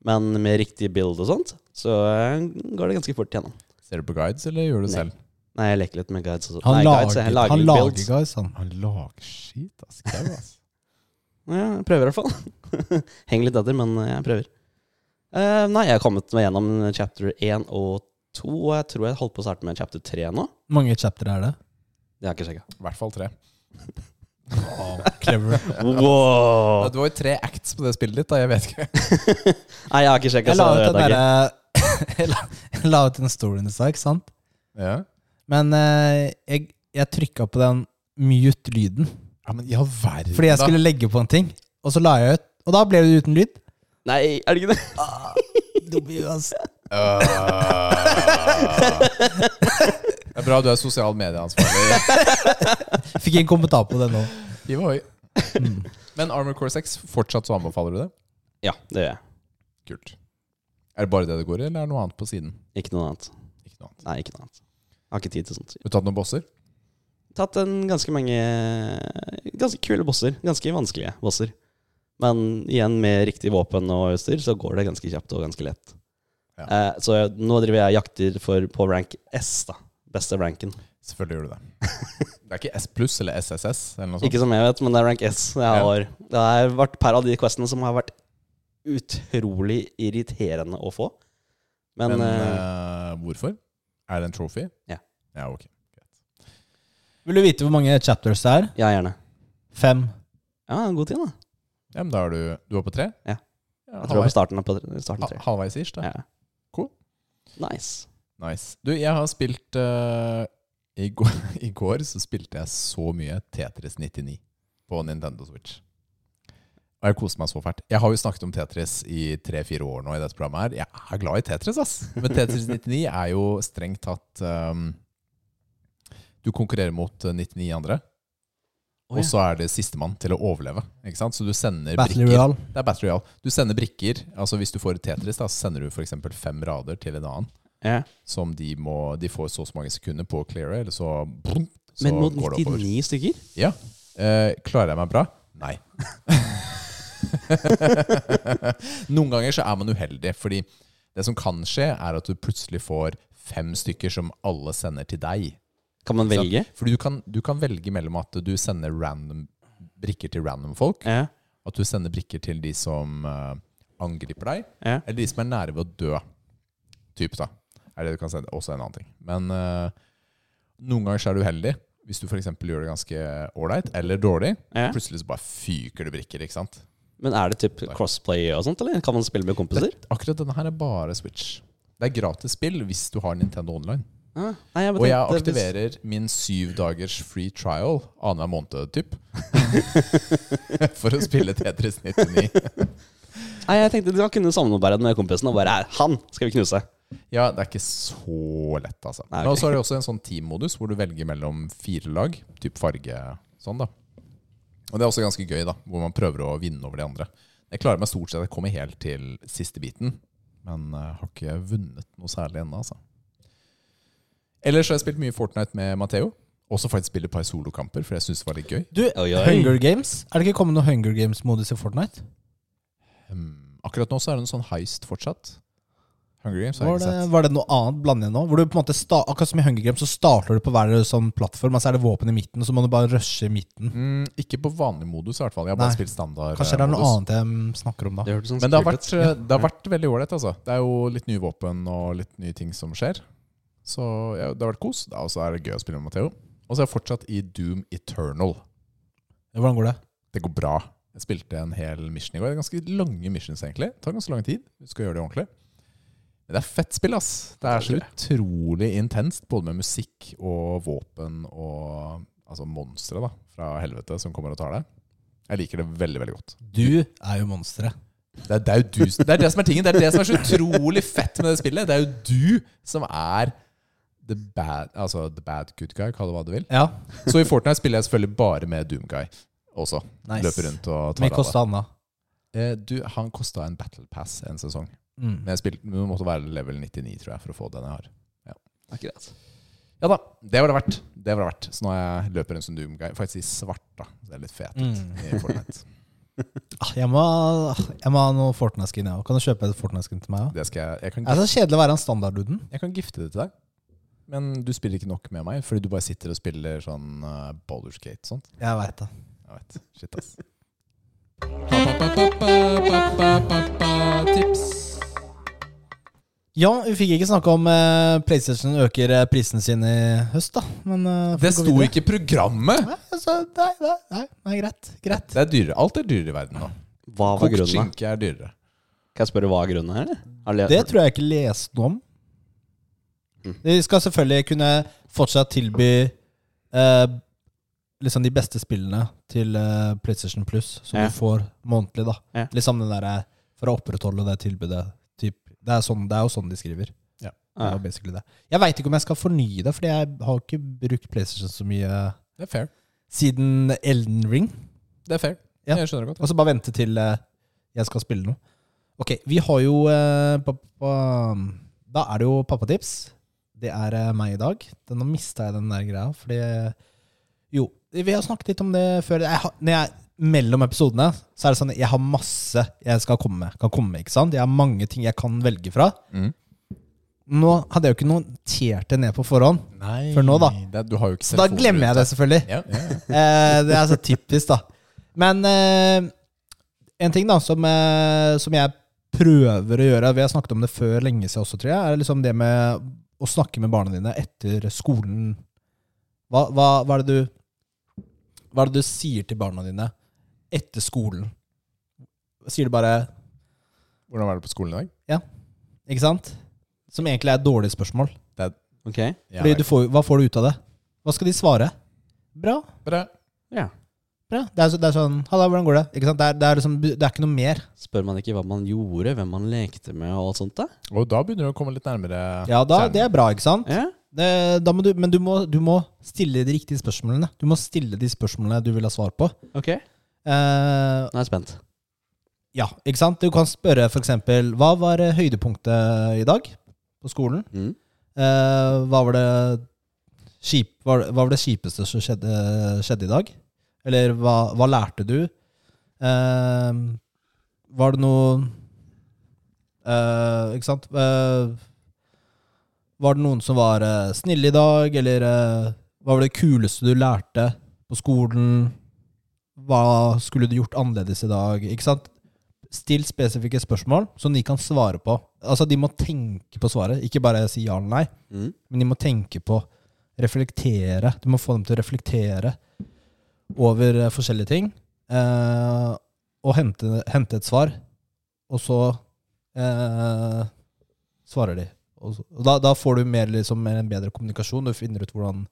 Speaker 3: men med riktig build og sånt, så eh, går det ganske fort gjennom.
Speaker 2: Ser du på guides, eller gjør du det
Speaker 3: Nei.
Speaker 2: selv?
Speaker 3: Nei, jeg leker litt med guides og sånt.
Speaker 1: Han
Speaker 3: Nei,
Speaker 1: lager,
Speaker 3: guides, jeg
Speaker 1: han
Speaker 3: litt
Speaker 1: lager
Speaker 3: builds.
Speaker 1: guys, han.
Speaker 2: Han lager skit, ass. Kev, ass.
Speaker 3: Ja, jeg prøver i hvert fall. *laughs* Henger litt etter, men jeg prøver. Eh, nei, jeg har kommet meg gjennom chapter 1 og 2, og jeg tror jeg holdt på å starte med chapter 3 nå.
Speaker 1: mange chapter er det?
Speaker 3: Det har jeg ikke
Speaker 2: *laughs*
Speaker 3: sjekka.
Speaker 2: I hvert fall tre.
Speaker 1: clever.
Speaker 2: Ja,
Speaker 3: Wow.
Speaker 2: det var jo tre acts på det spillet ditt, da. Jeg vet ikke.
Speaker 3: Nei, jeg har ikke sjekka.
Speaker 1: Jeg la ut den derre *laughs* jeg la- Jeg la ut en story i stad, ikke sant?
Speaker 2: Ja.
Speaker 1: Men eh, jeg, jeg trykka på den mute-lyden
Speaker 2: Ja, men i all verden,
Speaker 1: fordi jeg
Speaker 2: da. *laughs*
Speaker 1: skulle legge på en ting, og så la jeg ut, og da ble det uten lyd.
Speaker 3: Nei, er det ikke det?
Speaker 1: Dum i huet, ass.
Speaker 2: Øh. Det er bra du er sosial *laughs* medieansvarlig.
Speaker 1: Fikk en kommentar på det nå.
Speaker 2: Hiv ohoi. Men Armor Core 6, fortsatt så anbefaler du det?
Speaker 3: Ja, det gjør jeg.
Speaker 2: Kult. Er det bare det det går i, eller er det noe annet på siden?
Speaker 3: Ikke noe annet.
Speaker 2: Ikke noe annet.
Speaker 3: Nei, ikke noe annet. Jeg har ikke tid til sånt.
Speaker 2: Du har tatt noen bosser?
Speaker 3: Tatt en ganske mange ganske kule bosser. Ganske vanskelige bosser. Men igjen, med riktig våpen og utstyr, så går det ganske kjapt og ganske lett.
Speaker 2: Ja.
Speaker 3: Eh, så jeg, nå driver jeg og jakter for, på rank S, da. Beste ranken.
Speaker 2: Selvfølgelig gjør du det. *laughs* Det er ikke S pluss eller SSS eller noe sånt?
Speaker 3: Ikke som jeg vet, men det er rank S jeg
Speaker 2: Sånn. Ja.
Speaker 3: har. Det har vært per av de questene som har vært utrolig irriterende å få. Men,
Speaker 2: Men
Speaker 3: eh,
Speaker 2: eh, hvorfor? Er det en trophy?
Speaker 3: Ja.
Speaker 2: Ja, ok.
Speaker 1: Vil du vite hvor mange chapters det er?
Speaker 3: ja, gjerne.
Speaker 1: Fem.
Speaker 3: Ja, god tid, da.
Speaker 2: Ja, men da er du Du var på tre?
Speaker 3: Ja. Jeg tror jeg er
Speaker 2: halvveis,
Speaker 3: på starten av på i starten av
Speaker 2: ha-
Speaker 3: tre.
Speaker 2: halvveis ish, da.
Speaker 3: Ja.
Speaker 2: Cool.
Speaker 3: Nice.
Speaker 2: Nice. Du, jeg har spilt eh, i, går, *laughs* I går så spilte jeg så mye Tetris 99 på Nintendo Switch. Og jeg koser meg så fælt. Jeg har jo snakket om Tetris i tre-fire år nå i dette programmet her. Jeg er glad i Tetris, ass. Men Tetris 99 er jo strengt tatt um, Du konkurrerer mot eh, 99 andre,
Speaker 3: Å, ja.
Speaker 2: og så er det sistemann til å overleve. Ikke sant? Så du sender
Speaker 1: Battle
Speaker 2: brikker
Speaker 1: Royale.
Speaker 2: det er Battle Royale. Du sender brikker. Altså Hvis du får et Tetris, da, så sender du f.eks. fem rader til en annen.
Speaker 3: Ja.
Speaker 2: Som de, må, de får så og så mange sekunder på å cleare, eller så, så
Speaker 3: Men mot
Speaker 2: går det oppover.
Speaker 3: 99 stykker?
Speaker 2: Ja. Eh, klarer jeg meg bra? Nei. *laughs* Noen ganger så er man uheldig, fordi det som kan skje, er at du plutselig får fem stykker som alle sender til deg.
Speaker 3: Kan man velge?
Speaker 2: Fordi du kan, du kan velge mellom at du sender random brikker til random folk,
Speaker 3: Ja.
Speaker 2: at du sender brikker til de som eh, angriper deg,
Speaker 3: Ja.
Speaker 2: eller de som er nære ved å dø. Typ, da. Er det du kan sende. Også en annen ting. Men eh, noen ganger så er du uheldig. Hvis du f.eks. gjør det ganske ålreit eller dårlig,
Speaker 3: Ja.
Speaker 2: plutselig så bare fyker det brikker. ikke sant?
Speaker 3: Men er det typ crossplay og sånt, eller kan man spille med kompiser?
Speaker 2: Det- Akkurat denne her er bare Switch. Det er gratis spill hvis du har Nintendo Online.
Speaker 3: Ja. Ah, Nei, jeg bare
Speaker 2: Og jeg
Speaker 3: tenkte hvis-
Speaker 2: aktiverer min syv dagers free trial annenhver måned, typ. *laughs* For å spille Tetris 99.
Speaker 3: Nei, jeg tenkte du kan kunne sammenbære den med kompisen og bare "Nei, Han skal vi knuse!
Speaker 2: Ja, det er ikke så lett, altså.
Speaker 3: Nei,
Speaker 2: Og
Speaker 3: ok.
Speaker 2: så er det også en sånn teammodus hvor du velger mellom fire lag, typ farge sånn, da. Og det er også ganske gøy, da, hvor man prøver å vinne over de andre. Jeg klarer meg stort sett, jeg kommer helt til siste biten, men eh, har ikke vunnet noe særlig ennå, altså. Ellers har jeg spilt mye Fortnite med Matheo. Også faktisk spilt et par solokamper, for jeg syns det var litt gøy.
Speaker 1: Du,
Speaker 3: Oi, oi.
Speaker 1: Hunger Games? Er det ikke kommet noen Hunger Games-modus i Fortnite?
Speaker 2: Hmm, akkurat nå så er det en sånn heist fortsatt. Hunger Games har
Speaker 1: Var
Speaker 2: jeg
Speaker 1: det,
Speaker 2: ikke sett.
Speaker 1: var det noe annet blandet nå? Hvor du på en måte sta, akkurat som i Hunger Games, så starter du på hver sånn plattform, og så er det våpen i midten, og så må du bare rushe i midten.
Speaker 2: Mm, ikke på vanlig modus, i hvert fall. Jeg har bare
Speaker 1: Nei.
Speaker 2: spilt standard.
Speaker 1: Kanskje det er
Speaker 2: eh,
Speaker 1: noe
Speaker 2: modus.
Speaker 1: annet jeg snakker om da.
Speaker 3: hørtes sånn
Speaker 2: Men det har
Speaker 3: kult
Speaker 2: vært, eh,
Speaker 3: ut.
Speaker 2: det har vært veldig ålreit, altså. Det er jo litt nye våpen og litt nye ting som skjer. Så ja, det har vært kos. Og så er det gøy å spille med Matheo. Og så er jeg fortsatt i Doom Eternal.
Speaker 1: Hvordan går det?
Speaker 2: Det går bra. Jeg spilte en hel mission i går. Det er Ganske lange missions, egentlig. Det tar ganske lang tid. Du skal gjøre det ordentlig. Men det er fett spill, ass. Det er så utrolig intenst, både med musikk og våpen og altså monstre da, fra helvete som kommer og tar deg. Jeg liker det veldig, veldig godt.
Speaker 1: Du er jo monsteret.
Speaker 2: Det er, det, er jo du, det er det som er tingen. Det er det som er så utrolig fett med det spillet. Det er jo du som er the bad, altså the bad good guy, kall det hva du vil.
Speaker 1: Ja,
Speaker 2: Så i Fortnite spiller jeg selvfølgelig bare med Doom Guy også.
Speaker 1: nice.
Speaker 2: Løper rundt og tar
Speaker 1: Mye
Speaker 2: av deg.
Speaker 1: kosta han da.
Speaker 2: Eh, Du, han kosta en battle pass en sesong.
Speaker 1: Mm.
Speaker 2: Men jeg spilte, men du måtte være level 99, tror jeg, for å få den jeg har.
Speaker 3: Akkurat.
Speaker 2: Ja da, det var det verdt. Det var det verdt. Så nå jeg løper en som Doom Guy. Faktisk i svart, da. Så det er litt fet ut
Speaker 1: Mm.
Speaker 2: i Fortnite.
Speaker 1: Ah, Jeg må, jeg må ha noe Fortnite-skin, jeg òg. Kan du kjøpe et Fortnite-skin til meg òg?
Speaker 2: Det skal jeg, jeg, kan
Speaker 1: Det er så kjedelig å være han standardduden.
Speaker 2: Jeg kan gifte det til deg. Men du spiller ikke nok med meg, fordi du bare sitter og spiller sånn uh, Baldur's Gate og sånt.
Speaker 1: Jeg veit det.
Speaker 2: Jeg vet.
Speaker 1: *laughs*
Speaker 2: Shit, ass.
Speaker 1: Ja, vi fikk ikke snakke om eh, PlayStation øker eh, prisene sine i høst, da. Men eh, får
Speaker 2: Det
Speaker 1: vi gå
Speaker 2: sto
Speaker 1: videre?
Speaker 2: ikke i programmet!
Speaker 1: Nei, altså, nei, nei, nei, nei, greit. Greit.
Speaker 2: Det er dyrere. Alt er dyrere i verden nå.
Speaker 3: Hva var
Speaker 2: Kokt
Speaker 3: grunnen? da?
Speaker 2: skinke er dyrere.
Speaker 3: Kan jeg spørre hva grunnen er? eller? Har
Speaker 1: Det tror jeg ikke leste noe om.
Speaker 3: Mm.
Speaker 1: De skal selvfølgelig kunne fortsatt tilby eh, liksom de beste spillene til eh, PlayStation Plus, som
Speaker 3: Ja.
Speaker 1: du får månedlig. da.
Speaker 3: Ja.
Speaker 1: Liksom den derre For å opprettholde det tilbudet. Typ. Det, er sånn, det er jo sånn de skriver. Det var
Speaker 3: jeg.
Speaker 1: basically det. Jeg veit ikke om jeg skal fornye det, Fordi jeg har ikke brukt PlayStation så mye
Speaker 2: Det er fair.
Speaker 1: siden Elden Ring.
Speaker 2: Det er fair.
Speaker 1: Ja.
Speaker 2: Jeg skjønner det godt.
Speaker 1: Og så bare vente til eh, jeg skal spille noe. Ok, vi har jo eh, pappa, Da er det jo pappatips. Det er eh, meg i dag. Den, nå mista jeg den der greia, fordi Jo, vi har snakket litt om det før. Jeg, har- når jeg, mellom episodene så er det sånn jeg har masse jeg skal komme med. Kan komme med, ikke sant? Jeg har mange ting jeg kan velge fra.
Speaker 2: Mm.
Speaker 1: Nå hadde jeg jo ikke notert det ned på forhånd,
Speaker 2: Nei,
Speaker 1: For nå, da.
Speaker 2: Det, du har jo ikke
Speaker 1: så da glemmer jeg det selvfølgelig.
Speaker 2: Ja, ja, ja.
Speaker 1: Eh, det er så typisk, da. Men eh, en ting da som, eh, som jeg prøver å gjøre, vi har snakket om det før lenge siden også, tror jeg, er liksom det med å snakke med barna dine etter skolen. Hva, hva, hva, er det du, hva er det du sier til barna dine etter skolen? Sier du bare
Speaker 2: *laughs* Hvordan var det på skolen i dag?
Speaker 1: Ikke sant? Som egentlig er et dårlig spørsmål.
Speaker 3: Ok.
Speaker 2: Jeg
Speaker 1: Fordi
Speaker 2: vet
Speaker 1: du får, hva får du ut av det? Hva skal de svare? Bra.
Speaker 2: ikke. Bra.
Speaker 3: Ja.
Speaker 1: Bra. Det er, så, det er sånn Halla, hvordan går det? Ikke sant? Det, er, det, er liksom, det er ikke noe mer.
Speaker 3: Spør man ikke hva man gjorde, hvem man lekte med og alt sånt? da?
Speaker 2: Og da begynner du å komme litt nærmere
Speaker 1: Ja, da,
Speaker 2: kjernen.
Speaker 1: det er bra, ikke sant?
Speaker 3: Ja.
Speaker 1: Det, da må du, men du må, du må stille de riktige spørsmålene. Du må stille de spørsmålene du vil ha svar på.
Speaker 3: Ok. Nå
Speaker 1: Eh,
Speaker 3: er jeg spent.
Speaker 1: ja, ikke sant? Du kan spørre f.eks.: Hva var eh, høydepunktet i dag på skolen?
Speaker 3: Mm.
Speaker 1: Eh, hva var det kjip, hva, hva var det kjipeste som skjedde, skjedde i dag? Eller hva, hva lærte du? Eh, Var det noe eh, Ikke sant? Eh, var det noen som var eh, snille i dag, eller eh, hva var det kuleste du lærte på skolen? Hva skulle du gjort annerledes i dag? Ikke sant? Still spesifikke spørsmål som de kan svare på. Altså, de må tenke på svaret, ikke bare si ja eller nei.
Speaker 3: Mm.
Speaker 1: Men de må tenke på, reflektere. Du må få dem til å reflektere over eh, forskjellige ting. Eh, og hente, hente et svar. Og så eh, svarer de. Og, så, og da, da får du mer, liksom, mer en bedre kommunikasjon. Du finner ut hvordan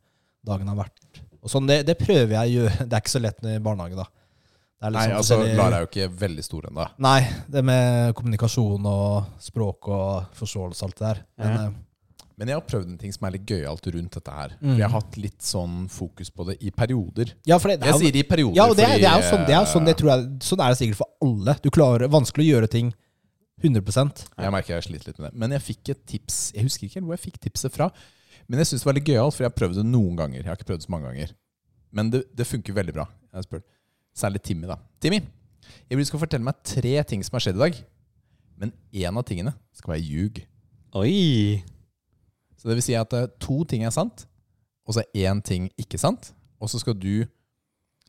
Speaker 1: dagen har vært. Og sånn, det, det prøver jeg å gjøre. *laughs* Det er ikke så lett i barnehage, da. Det er
Speaker 2: Nei,
Speaker 1: liksom
Speaker 2: altså,
Speaker 1: forskjellig-
Speaker 2: Lara er jo ikke veldig stor ennå.
Speaker 1: Nei, det med kommunikasjon og språk og forståelse og alt det der. Men,
Speaker 3: Ja.
Speaker 1: eh,
Speaker 2: Men jeg har prøvd en ting som er litt gøyalt rundt dette her.
Speaker 1: Mm.
Speaker 2: For jeg har hatt litt sånn fokus på det i perioder.
Speaker 1: ja, for det, det er
Speaker 2: Jeg
Speaker 1: jo-
Speaker 2: sier i perioder
Speaker 1: Ja, og det, er-
Speaker 2: fordi
Speaker 1: det er jo sånn det er, jo sånn, det
Speaker 2: eh,
Speaker 1: tror jeg, sånn er det sikkert for alle. Du klarer, Vanskelig å gjøre ting 100
Speaker 2: eh, Jeg merker jeg sliter litt med det. Men jeg fikk et tips. Jeg husker ikke helt hvor jeg fikk tipset fra. Men jeg syns det var litt gøyalt, for jeg har prøvd det noen ganger. Jeg har ikke prøvd det så mange ganger. Men det, det funker veldig bra. Jeg har spurt. Særlig Timmy, da. Timmy, jeg vil du skal fortelle meg tre ting som har skjedd i dag. Men én av tingene skal være ljug.
Speaker 3: Oi.
Speaker 2: Så det vil si at eh, to ting er sant, og så er én ting ikke sant. Og så skal du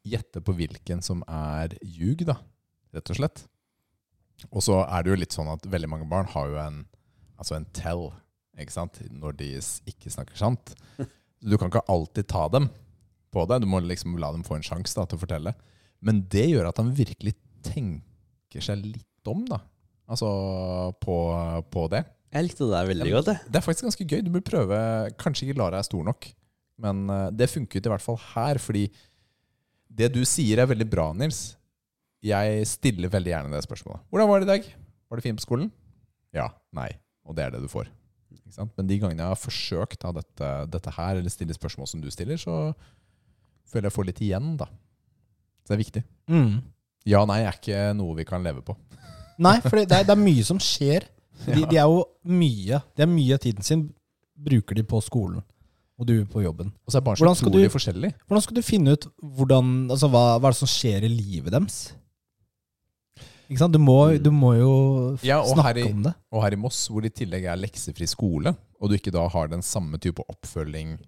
Speaker 2: gjette på hvilken som er ljug, da, rett og slett. Og så er det jo litt sånn at veldig mange barn har jo en, altså en tell, ikke sant, når de s- ikke snakker sant. Så du kan ikke alltid ta dem på det. Du må liksom la dem få en sjanse da, til å fortelle. Men det gjør at han virkelig tenker seg litt om, da. Altså på, på det.
Speaker 3: Jeg likte det der veldig godt, jeg.
Speaker 2: Det er faktisk ganske gøy. Du burde prøve. Kanskje ikke Lara er stor nok, men eh, det funket i hvert fall her. Fordi det du sier, er veldig bra, Nils. Jeg stiller veldig gjerne det spørsmålet. 'Hvordan var det i dag? Var det fint på skolen?' Ja. Nei. Og det er det du får. Ikke sant? Men de gangene jeg har forsøkt da, dette, dette her, eller stille spørsmål som du stiller, så føler jeg får litt igjen, da. Så det er viktig.
Speaker 1: mm.
Speaker 2: Ja, nei er ikke noe vi kan leve på.
Speaker 1: Nei, for det, det, er, det er mye som skjer.
Speaker 2: *laughs*
Speaker 1: De, de er jo mye De er mye av tiden sin bruker de på skolen, og du på jobben.
Speaker 2: Og så er barn så
Speaker 1: Hvordan skal
Speaker 2: utrolig
Speaker 1: du-
Speaker 2: forskjellige.
Speaker 1: Hvordan skal du finne ut hvordan, altså, hva, hva er det som skjer i livet deres? Ikke sant? Du må, du må jo f-
Speaker 2: Mm. Ja, og her
Speaker 1: snakke
Speaker 2: i-
Speaker 1: om det.
Speaker 2: Og her i Moss, hvor det i tillegg er leksefri skole, og du ikke da har den samme type oppfølging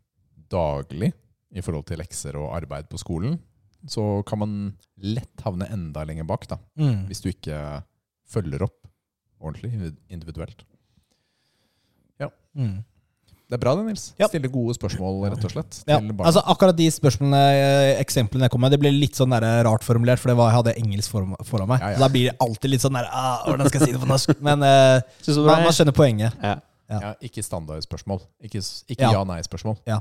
Speaker 2: daglig i forhold til lekser og arbeid på skolen, så kan man lett havne enda lenger bak, da,
Speaker 1: Mm.
Speaker 2: hvis du ikke følger opp ordentlig individuelt.
Speaker 1: Mm.
Speaker 2: Det er bra det, Nils.
Speaker 1: Ja.
Speaker 2: Stille gode spørsmål, rett og slett,
Speaker 1: Ja,
Speaker 2: til barna.
Speaker 1: altså Akkurat de spørsmålene eh, eksemplene jeg kom med, det ble litt sånn der rart formulert, for det var, jeg hadde engelsk for, foran meg.
Speaker 2: Ja, ja.
Speaker 1: Så da blir det alltid litt sånn der ah, Hvordan skal jeg si det på
Speaker 2: *laughs*
Speaker 1: norsk? Men eh,
Speaker 3: Synes du det
Speaker 1: man,
Speaker 3: var
Speaker 1: man skjønner poenget.
Speaker 3: ja.
Speaker 2: ja. ikke standardspørsmål. Ikke, s- ikke
Speaker 1: Ja.
Speaker 2: ja-nei-spørsmål.
Speaker 1: Ja.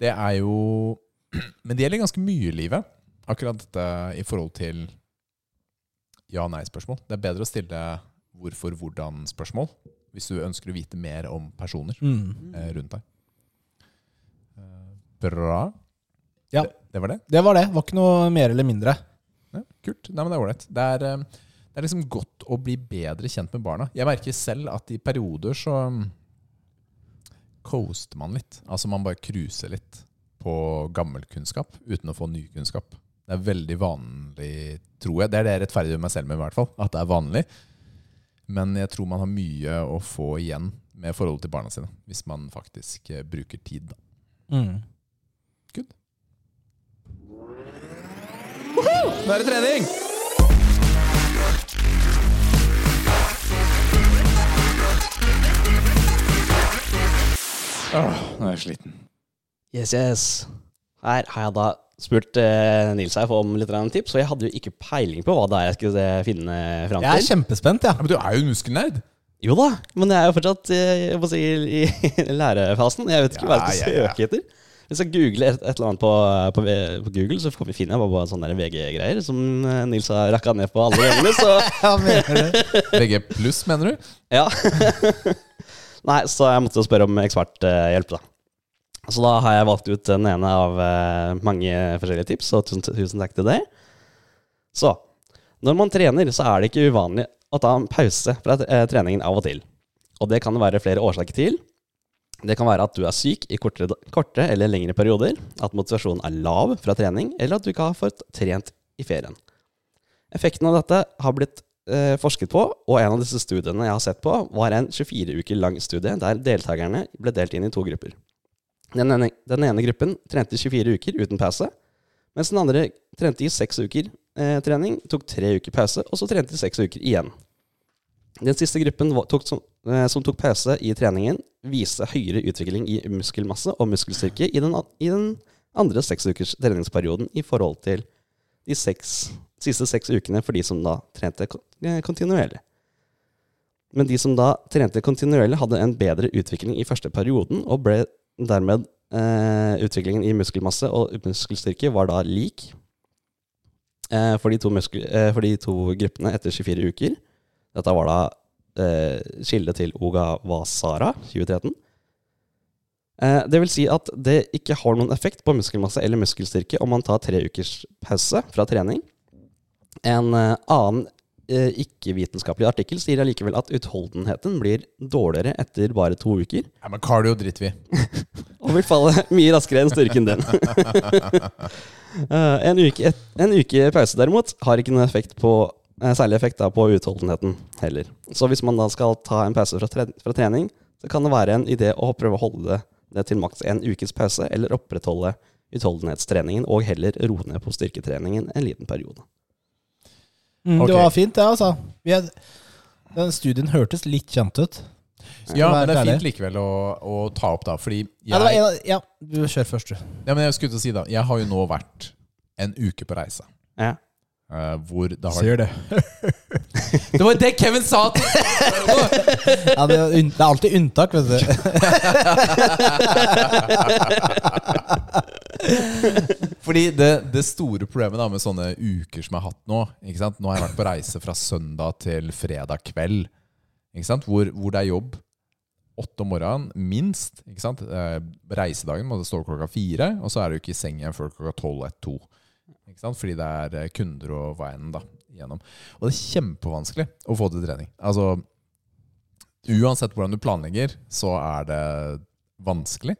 Speaker 2: Det er jo *clears throat* Men det gjelder ganske mye i livet, akkurat dette i forhold til ja-nei-spørsmål. Det er bedre å stille hvorfor-hvordan-spørsmål hvis du ønsker å vite mer om personer
Speaker 1: Mm.
Speaker 2: eh, rundt deg. Eh, Bra.
Speaker 1: Ja.
Speaker 2: Det, det var det.
Speaker 1: Det var det. Var ikke noe mer eller mindre.
Speaker 2: Ja, kult. Nei, men det er ålreit. Det, er, eh, det er liksom godt å bli bedre kjent med barna. Jeg merker selv at i perioder så mm, coaster man litt. Altså man bare cruiser litt på gammel kunnskap uten å få ny kunnskap. Det er veldig vanlig, tror jeg. Det er det jeg rettferdiggjør meg selv med, i hvert fall. At det er vanlig. Men jeg tror man har mye å få igjen med forholdet til barna sine, hvis man faktisk eh, bruker tid. Da.
Speaker 1: Mm.
Speaker 2: Good. Nå er det trening! Åh, nå er jeg sliten.
Speaker 3: Yes, yes. Her har jeg da spurt eh, Nils her for om litt grann tips, og jeg hadde jo ikke peiling på hva det er jeg skulle eh, finne fram
Speaker 1: Jeg er
Speaker 3: til.
Speaker 1: kjempespent,
Speaker 2: Ja,
Speaker 1: jeg.
Speaker 2: men du er jo muskelnerd!
Speaker 3: Jo da, men jeg er jo fortsatt eh, jeg må si, i *laughs* i lærefasen. Jeg vet ikke hva jeg skal
Speaker 2: Ja, ja, ja.
Speaker 3: søke etter. Hvis jeg googler et, et eller annet på, på, på Google, så får vi finne bare, bare sånne der VG-greier som eh, Nils har rakka ned på alle gangene. Så
Speaker 1: Ja, mener du?
Speaker 2: VG pluss, mener du?
Speaker 3: Ja. Nei, så jeg måtte jo spørre om eksperthjelp, da. Så da har jeg valgt ut den ene av eh, mange forskjellige tips, og tusen, tusen takk til deg. Så når man trener, så er det ikke uvanlig å ta en pause fra eh, treningen av og til. Og det kan det være flere årsaker til. Det kan være at du er syk i kortere, korte eller lengre perioder, at motivasjonen er lav fra trening, eller at du ikke har fått trent i ferien. Effekten av dette har blitt eh, forsket på, og en av disse studiene jeg har sett på, var en 24 uker lang studie der deltakerne ble delt inn i to grupper. Den ene, den ene gruppen trente i 24 uker uten pause, mens den andre trente i seks uker eh, trening, tok tre uker pause, og så trente i seks uker igjen. Den siste gruppen var- tok, som, eh, som tok pause i treningen, viste høyere utvikling i muskelmasse og muskelstyrke i den, an- i den andre seks ukers treningsperioden i forhold til de seks, siste seks ukene for de som da trente kon- eh, kontinuerlig. Men de som da trente kontinuerlig, hadde en bedre utvikling i første perioden, og ble dermed eh, utviklingen i muskelmasse og muskelstyrke var da lik eh, for, de to muskel, eh, for de to gruppene etter 24 uker. Dette var da eh, skillet til Ogawasara 2013. Eh, det vil si at det ikke har noen effekt på muskelmasse eller muskelstyrke om man tar tre ukers pause fra trening. En eh, annen eh, ikke-vitenskapelig artikkel sier allikevel at utholdenheten blir dårligere etter bare to uker,
Speaker 2: Ja, men cardio driter vi
Speaker 3: og vil falle *laughs* mye raskere enn styrken din. *laughs* Eh, en, uke et, en uke pause derimot har ikke noen effekt på, eh, særlig effekt da, på utholdenheten heller. Så hvis man da skal ta en pause fra, tre, fra trening, så kan det være en idé å prøve å holde det, det til maks en ukes pause, eller opprettholde utholdenhetstreningen, og heller roe ned på styrketreningen en liten periode.
Speaker 1: *laughs* Mm,
Speaker 2: Ok.
Speaker 1: Det var fint, det, altså. Vi er, den studien hørtes litt kjent ut.
Speaker 2: Ja,
Speaker 1: være
Speaker 2: men det er
Speaker 1: ærlig.
Speaker 2: fint likevel å, å ta opp, da. Fordi jeg,
Speaker 1: Ja, det var en, av- ja du kjør først, du.
Speaker 2: ja, men jeg skulle til å si da Jeg har jo nå vært en uke på reise.
Speaker 3: Ja.
Speaker 2: eh, hvor det har
Speaker 1: Ser det.
Speaker 2: Det var det Kevin sa! til-
Speaker 1: Ja, det, er unn- det er alltid unntak, vet
Speaker 2: *laughs*
Speaker 1: du.
Speaker 2: Fordi det, det store problemet da med sånne uker som jeg har hatt nå ikke sant? Nå har jeg vært på reise fra søndag til fredag kveld. Ikke sant? Hvor, hvor det er jobb åtte om morgenen, minst. Ikke sant? Eh, reisedagen må det stå klokka fire, og så er du ikke i seng igjen før klokka tolv ett to. Ikke sant? Fordi det er eh, kunder og veien da, igjennom. Og det er kjempevanskelig å få til trening. Altså, uansett hvordan du planlegger, så er det vanskelig,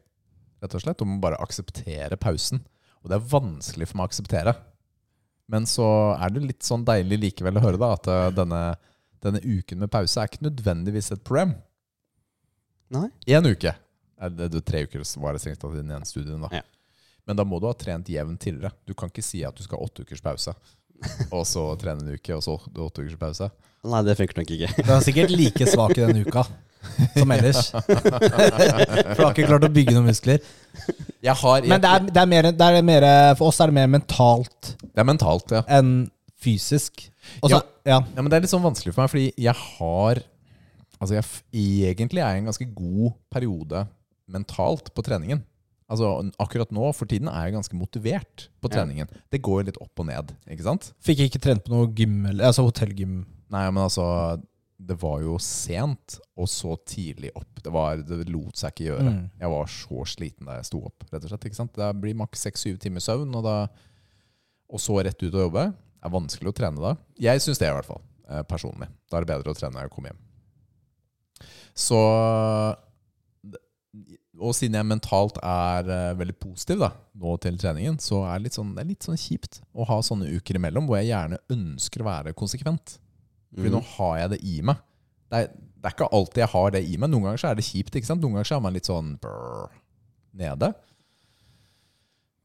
Speaker 2: rett og slett. Du må bare akseptere pausen. Og det er vanskelig for meg å akseptere. Men så er det litt sånn deilig likevel å høre da, at eh, denne, denne uken med pause er ikke nødvendigvis et problem.
Speaker 3: Nei.
Speaker 2: Én uke. Er det- det Tre uker var det strengt tatt i den ene studien. da.
Speaker 3: Ja.
Speaker 2: Men da må du ha trent jevnt tidligere. Du kan ikke si at du skal ha åtte ukers pause, og så trene en uke, og så åtte ukers pause.
Speaker 3: Nei, det funker nok ikke.
Speaker 1: Du er sikkert like svak i den uka som ellers. For du har ikke klart å bygge noen muskler.
Speaker 2: Jeg har, jeg,
Speaker 1: Men det er, det er, mer, det er mer, for oss er det mer mentalt
Speaker 2: det er mentalt, ja.
Speaker 1: enn fysisk. Og så- ja.
Speaker 2: Ja, men Det er litt sånn vanskelig for meg, fordi jeg har Altså, jeg f egentlig er jeg i en ganske god periode mentalt på treningen. Altså, akkurat nå, for tiden, er jeg ganske motivert på
Speaker 3: Ja.
Speaker 2: treningen. Det går litt opp og ned, ikke sant?
Speaker 1: Fikk ikke trent på noe gym, eller, altså hotellgym.
Speaker 2: Nei, men altså Det var jo sent, og så tidlig opp. Det, var, det lot seg ikke gjøre.
Speaker 1: Mm.
Speaker 2: Jeg var så sliten da jeg sto opp, rett og slett. ikke sant? Det blir maks seks-syv timer søvn, og, da, og så rett ut og jobbe. Det er vanskelig å trene da. Jeg syns det, i hvert fall. eh, Personlig. Da er det bedre å trene når jeg kommer hjem. Så Og siden jeg mentalt er eh, veldig positiv da, nå til treningen, så er det litt sånn, det er litt sånn kjipt å ha sånne uker imellom hvor jeg gjerne ønsker å være konsekvent. Fordi nå har jeg det i meg. Det er, det er ikke alltid jeg har det i meg. Noen ganger så er det kjipt. ikke sant? Noen ganger så er man litt sånn brr, nede.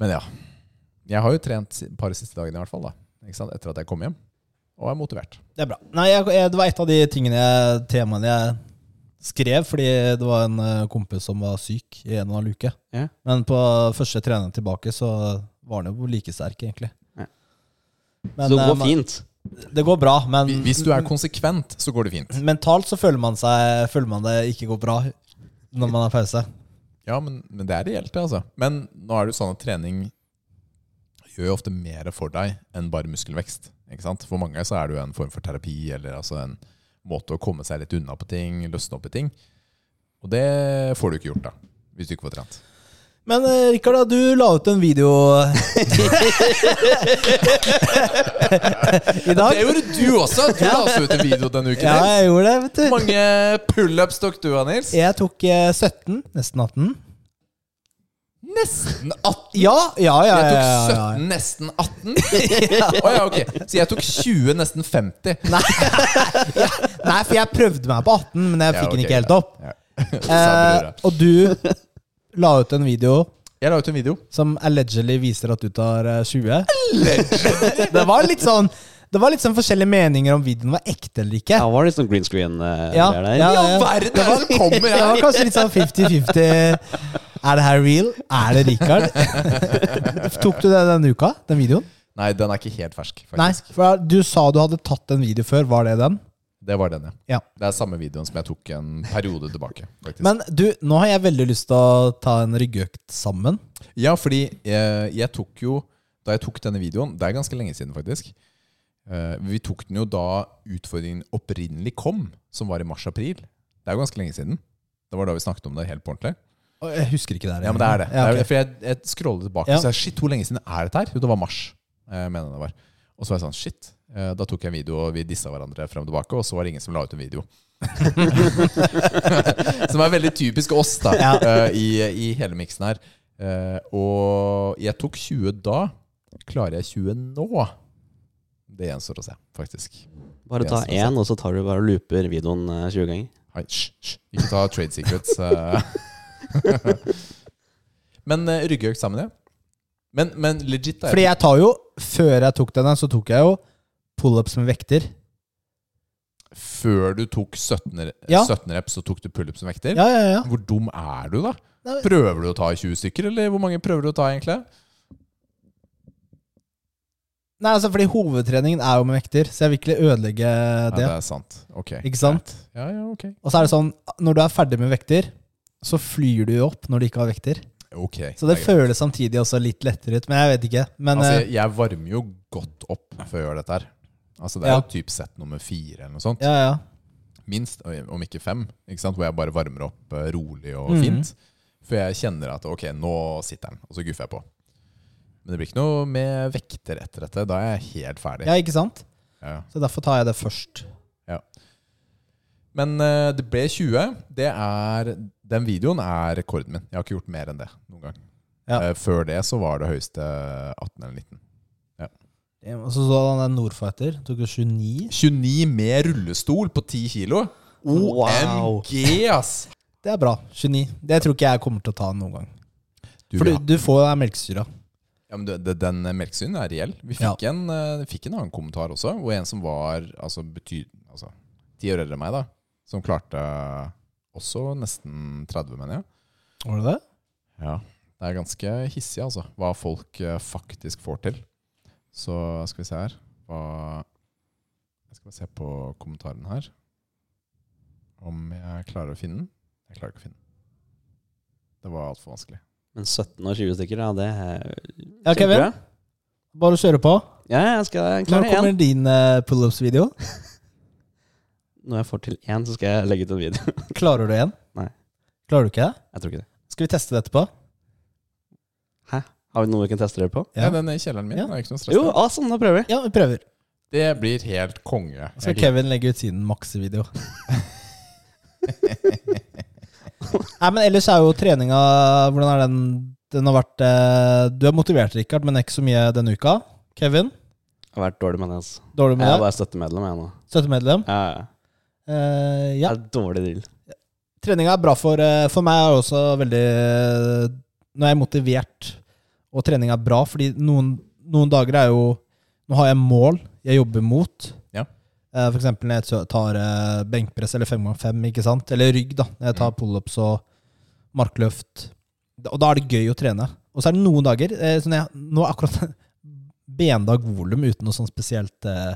Speaker 2: Men ja. Jeg har jo trent si- par siste dagene i hvert fall, da. Ikke sant? Etter at jeg kom hjem. Og er motivert.
Speaker 1: Det er bra. Nei, jeg, jeg, det var et av de tingene jeg, temaene jeg skrev, fordi det var en eh, kompis som var syk i en og en halv uke.
Speaker 3: Ja.
Speaker 1: Men på første trening tilbake så var han jo like sterk, egentlig.
Speaker 3: Ja.
Speaker 1: Men,
Speaker 3: så det
Speaker 1: eh,
Speaker 3: går
Speaker 1: man-
Speaker 3: fint.
Speaker 1: Det går bra, men
Speaker 2: Hvi- Hvis du er konsekvent, så går det fint.
Speaker 1: mentalt så føler man, seg, føler man det ikke går bra når man har pause.
Speaker 2: Ja, men, men det er reelt, det, altså. Men nå er det jo sånn at trening gjør jo ofte mer for deg enn bare muskelvekst. Ikke sant? For mange så er det jo en form for terapi, eller altså en måte å komme seg litt unna på ting, løsne opp i ting. Og det får du ikke gjort, da. Hvis du ikke får trent.
Speaker 1: Men eh, Rikard, da, du la ut en video
Speaker 2: *laughs*
Speaker 1: i dag.
Speaker 2: gjorde du også! Du la også ut en video denne uken.
Speaker 1: Ja, jeg gjorde det, vet du.
Speaker 2: mange pullups tok du av, Nils?
Speaker 1: Jeg tok eh, 17, nesten 18.
Speaker 2: Nesten 18!
Speaker 1: Ja, ja, ja. ja,
Speaker 2: Jeg
Speaker 1: ja,
Speaker 2: tok
Speaker 1: ja.
Speaker 2: 17, nesten
Speaker 1: *laughs*
Speaker 2: 18. Å ja, ok. Så jeg tok 20, nesten 50.
Speaker 1: Nei, for jeg prøvde meg på 18, men jeg
Speaker 2: Ja,
Speaker 1: fikk den
Speaker 2: ok,
Speaker 1: ikke helt
Speaker 2: ja.
Speaker 1: opp.
Speaker 2: Ja. *laughs*
Speaker 1: Eh,
Speaker 2: Sa brura.
Speaker 1: og du la ut en video
Speaker 2: Jeg la ut en video.
Speaker 1: som allegedly viser at du tar eh, 20. *laughs* det var litt sånn Det var litt sånn forskjellige meninger om videoen var ekte eller ikke.
Speaker 3: Ja, var det litt sånn green screen eh,
Speaker 1: Ja,
Speaker 3: der, der?
Speaker 1: ja, ja.
Speaker 2: Hva i all verden
Speaker 1: *laughs*
Speaker 2: er det som kommer
Speaker 1: Det var
Speaker 2: her?
Speaker 1: kanskje litt sånn 50-50. Er det her real? Er det Richard? *laughs* Tok du det denne uka? Den videoen?
Speaker 2: Nei, den er ikke helt fersk,
Speaker 1: Nei,
Speaker 2: faktisk.
Speaker 1: for du sa du hadde tatt en video før. Var det den?
Speaker 2: Det var den, ja.
Speaker 1: Ja.
Speaker 2: Det er samme videoen som jeg tok en periode tilbake. faktisk.
Speaker 1: Men du, nå har jeg veldig lyst til å ta en ryggøkt sammen.
Speaker 2: Ja, fordi eh, jeg tok jo Da jeg tok denne videoen Det er ganske lenge siden, faktisk. Eh, vi tok den jo da utfordringen opprinnelig kom, som var i mars-april. Det er jo ganske lenge siden. Det var da vi snakket om det helt på ordentlig.
Speaker 1: Å, Jeg husker ikke det. her,
Speaker 2: Ja, men det er det.
Speaker 1: Ja, ok.
Speaker 2: Det er- For jeg, jeg scrollet tilbake,
Speaker 1: Ja.
Speaker 2: så jeg, shit, hvor lenge siden er dette her? Jo, det var mars. eh, mener jeg det var. Og så var jeg sånn, shit. Eh, Da tok jeg en video, og vi dissa hverandre frem og tilbake, og så var det ingen som la ut en video. *laughs* som er veldig typisk oss, da,
Speaker 1: Ja.
Speaker 2: eh, i, i hele miksen her. Eh, Og jeg tok 20 da. Klarer jeg 20 nå? Det gjenstår å se, faktisk.
Speaker 3: Bare ta
Speaker 2: Ja, sånn
Speaker 3: én, og så tar du bare og looper videoen eh, 20 ganger.
Speaker 2: Hei, hysj, hysj. Ikke ta trade secrets. eh. *laughs* men uh, ryggøkt sammen, ja. Men, men legit, da.
Speaker 1: Fordi jeg tar jo, før jeg tok denne, så tok jeg jo pullups med vekter.
Speaker 2: Før du tok 17, re-
Speaker 1: Ja.
Speaker 2: 17 reps, så tok du pullups som vekter?
Speaker 1: Ja, ja, ja.
Speaker 2: Hvor dum er du, da?
Speaker 1: Nei.
Speaker 2: Prøver du å ta 20 stykker, eller hvor mange prøver du å ta, egentlig?
Speaker 1: Nei, altså, fordi hovedtreningen er jo med vekter, så jeg vil ikke ødelegge
Speaker 2: Nei,
Speaker 1: det.
Speaker 2: det er sant. Ok.
Speaker 1: Ikke sant?
Speaker 2: Ja, ja, ok.
Speaker 1: Og så er det sånn, når du er ferdig med vekter, så flyr du jo opp når du ikke har vekter.
Speaker 2: Ok.
Speaker 1: Så det
Speaker 2: er greit.
Speaker 1: føles samtidig også litt lettere ut, men jeg vet ikke. Men
Speaker 2: Altså,
Speaker 1: eh,
Speaker 2: jeg- jeg varmer jo godt opp før jeg gjør dette her. Altså, det er
Speaker 1: Ja.
Speaker 2: jo typ sett nummer fire eller noe sånt.
Speaker 1: eh, ja, ja.
Speaker 2: minst, om ikke fem, ikke sant? hvor jeg bare varmer opp eh, rolig og
Speaker 1: Mhm.
Speaker 2: fint. For jeg kjenner at ok, nå sitter den, og så guffer jeg på. Men det blir ikke noe med vekter etter dette. Da er jeg helt ferdig.
Speaker 1: ja, ikke sant?
Speaker 2: Ja.
Speaker 1: Så derfor tar jeg det først.
Speaker 2: Men eh, det ble 20. Det er, den videoen er rekorden min. Jeg har ikke gjort mer enn det noen gang.
Speaker 1: Ja.
Speaker 2: Eh, før det så var det høyeste 18 eller 19.
Speaker 1: Og så så han den Nordfighter, tok jo 29.
Speaker 2: 29 med rullestol på 10 kilo.
Speaker 3: Wow.
Speaker 2: OMG, ass!
Speaker 1: Det er bra. 29. Det tror ikke jeg kommer til å ta noen gang.
Speaker 2: Du,
Speaker 1: For
Speaker 2: ja.
Speaker 1: du, du får jo melkesyra.
Speaker 2: Ja, men det- det- Den melkesynen er reell. Vi fikk, en, eh, fikk en annen kommentar også, og en som var altså, bety, altså, ti år eldre enn meg, da, som klarte eh, også nesten 30, mener jeg.
Speaker 1: Var det det?
Speaker 2: Ja. Det er ganske hissig, altså, hva folk eh, faktisk får til. Så skal vi se her hva, Jeg skal bare se på kommentaren her. Om jeg klarer å finne den. Jeg klarer ikke å finne den. Det var altfor vanskelig.
Speaker 3: Men 17 og 20 stykker, ja, det er
Speaker 1: Ja, Kevin?
Speaker 3: kjempebra.
Speaker 1: Bare å kjøre på.
Speaker 3: Ja, jeg skal
Speaker 1: Når
Speaker 3: klare
Speaker 1: kommer
Speaker 3: én.
Speaker 1: din eh,
Speaker 2: *laughs*
Speaker 1: pullups-video?
Speaker 3: Når jeg får til én, så skal jeg legge ut en video. *laughs*
Speaker 1: Klarer du en?
Speaker 3: Nei.
Speaker 1: Klarer du ikke det?
Speaker 3: Jeg tror ikke det.
Speaker 1: Skal vi teste det etterpå?
Speaker 3: Har vi noe vi kan teste dere på?
Speaker 2: Ja.
Speaker 1: Ja.
Speaker 2: den er i kjelleren min.
Speaker 1: Ja.
Speaker 2: Det er ikke noe stress.
Speaker 3: Jo,
Speaker 2: der.
Speaker 3: ah, sånn, da prøver vi.
Speaker 1: Ja, vi prøver.
Speaker 2: Det blir helt konge.
Speaker 1: Så skal
Speaker 2: Jeg
Speaker 1: Kevin legge ut sin maksevideo. Nei, men ellers er jo treninga Hvordan er den? Den har vært eh, Du er motivert, Rikard, men ikke så mye denne uka. Kevin,
Speaker 3: Jeg har vært dårlig med det. altså.
Speaker 1: dårlig
Speaker 3: Jeg er
Speaker 1: med deg.
Speaker 3: bare støttemedlem, jeg nå.
Speaker 1: Støttemedlem.
Speaker 3: Ja, ja.
Speaker 1: Eh, ja.
Speaker 3: Det er dårlig drill.
Speaker 1: Treninga er bra for, eh, for meg. er det også veldig eh, Når jeg er motivert og trening er bra, fordi noen, noen dager er jo Nå har jeg mål jeg jobber mot.
Speaker 2: Ja.
Speaker 1: Eh, For eksempel når jeg tø- tar eh, benkpress eller 5x5, ikke sant? eller rygg. da Når jeg
Speaker 2: Mm.
Speaker 1: tar pullups og markløft. Da- Og da er det gøy å trene. Og så er det noen dager eh, sånn jeg, Nå er akkurat *laughs* bendag volum uten noe sånn spesielt eh,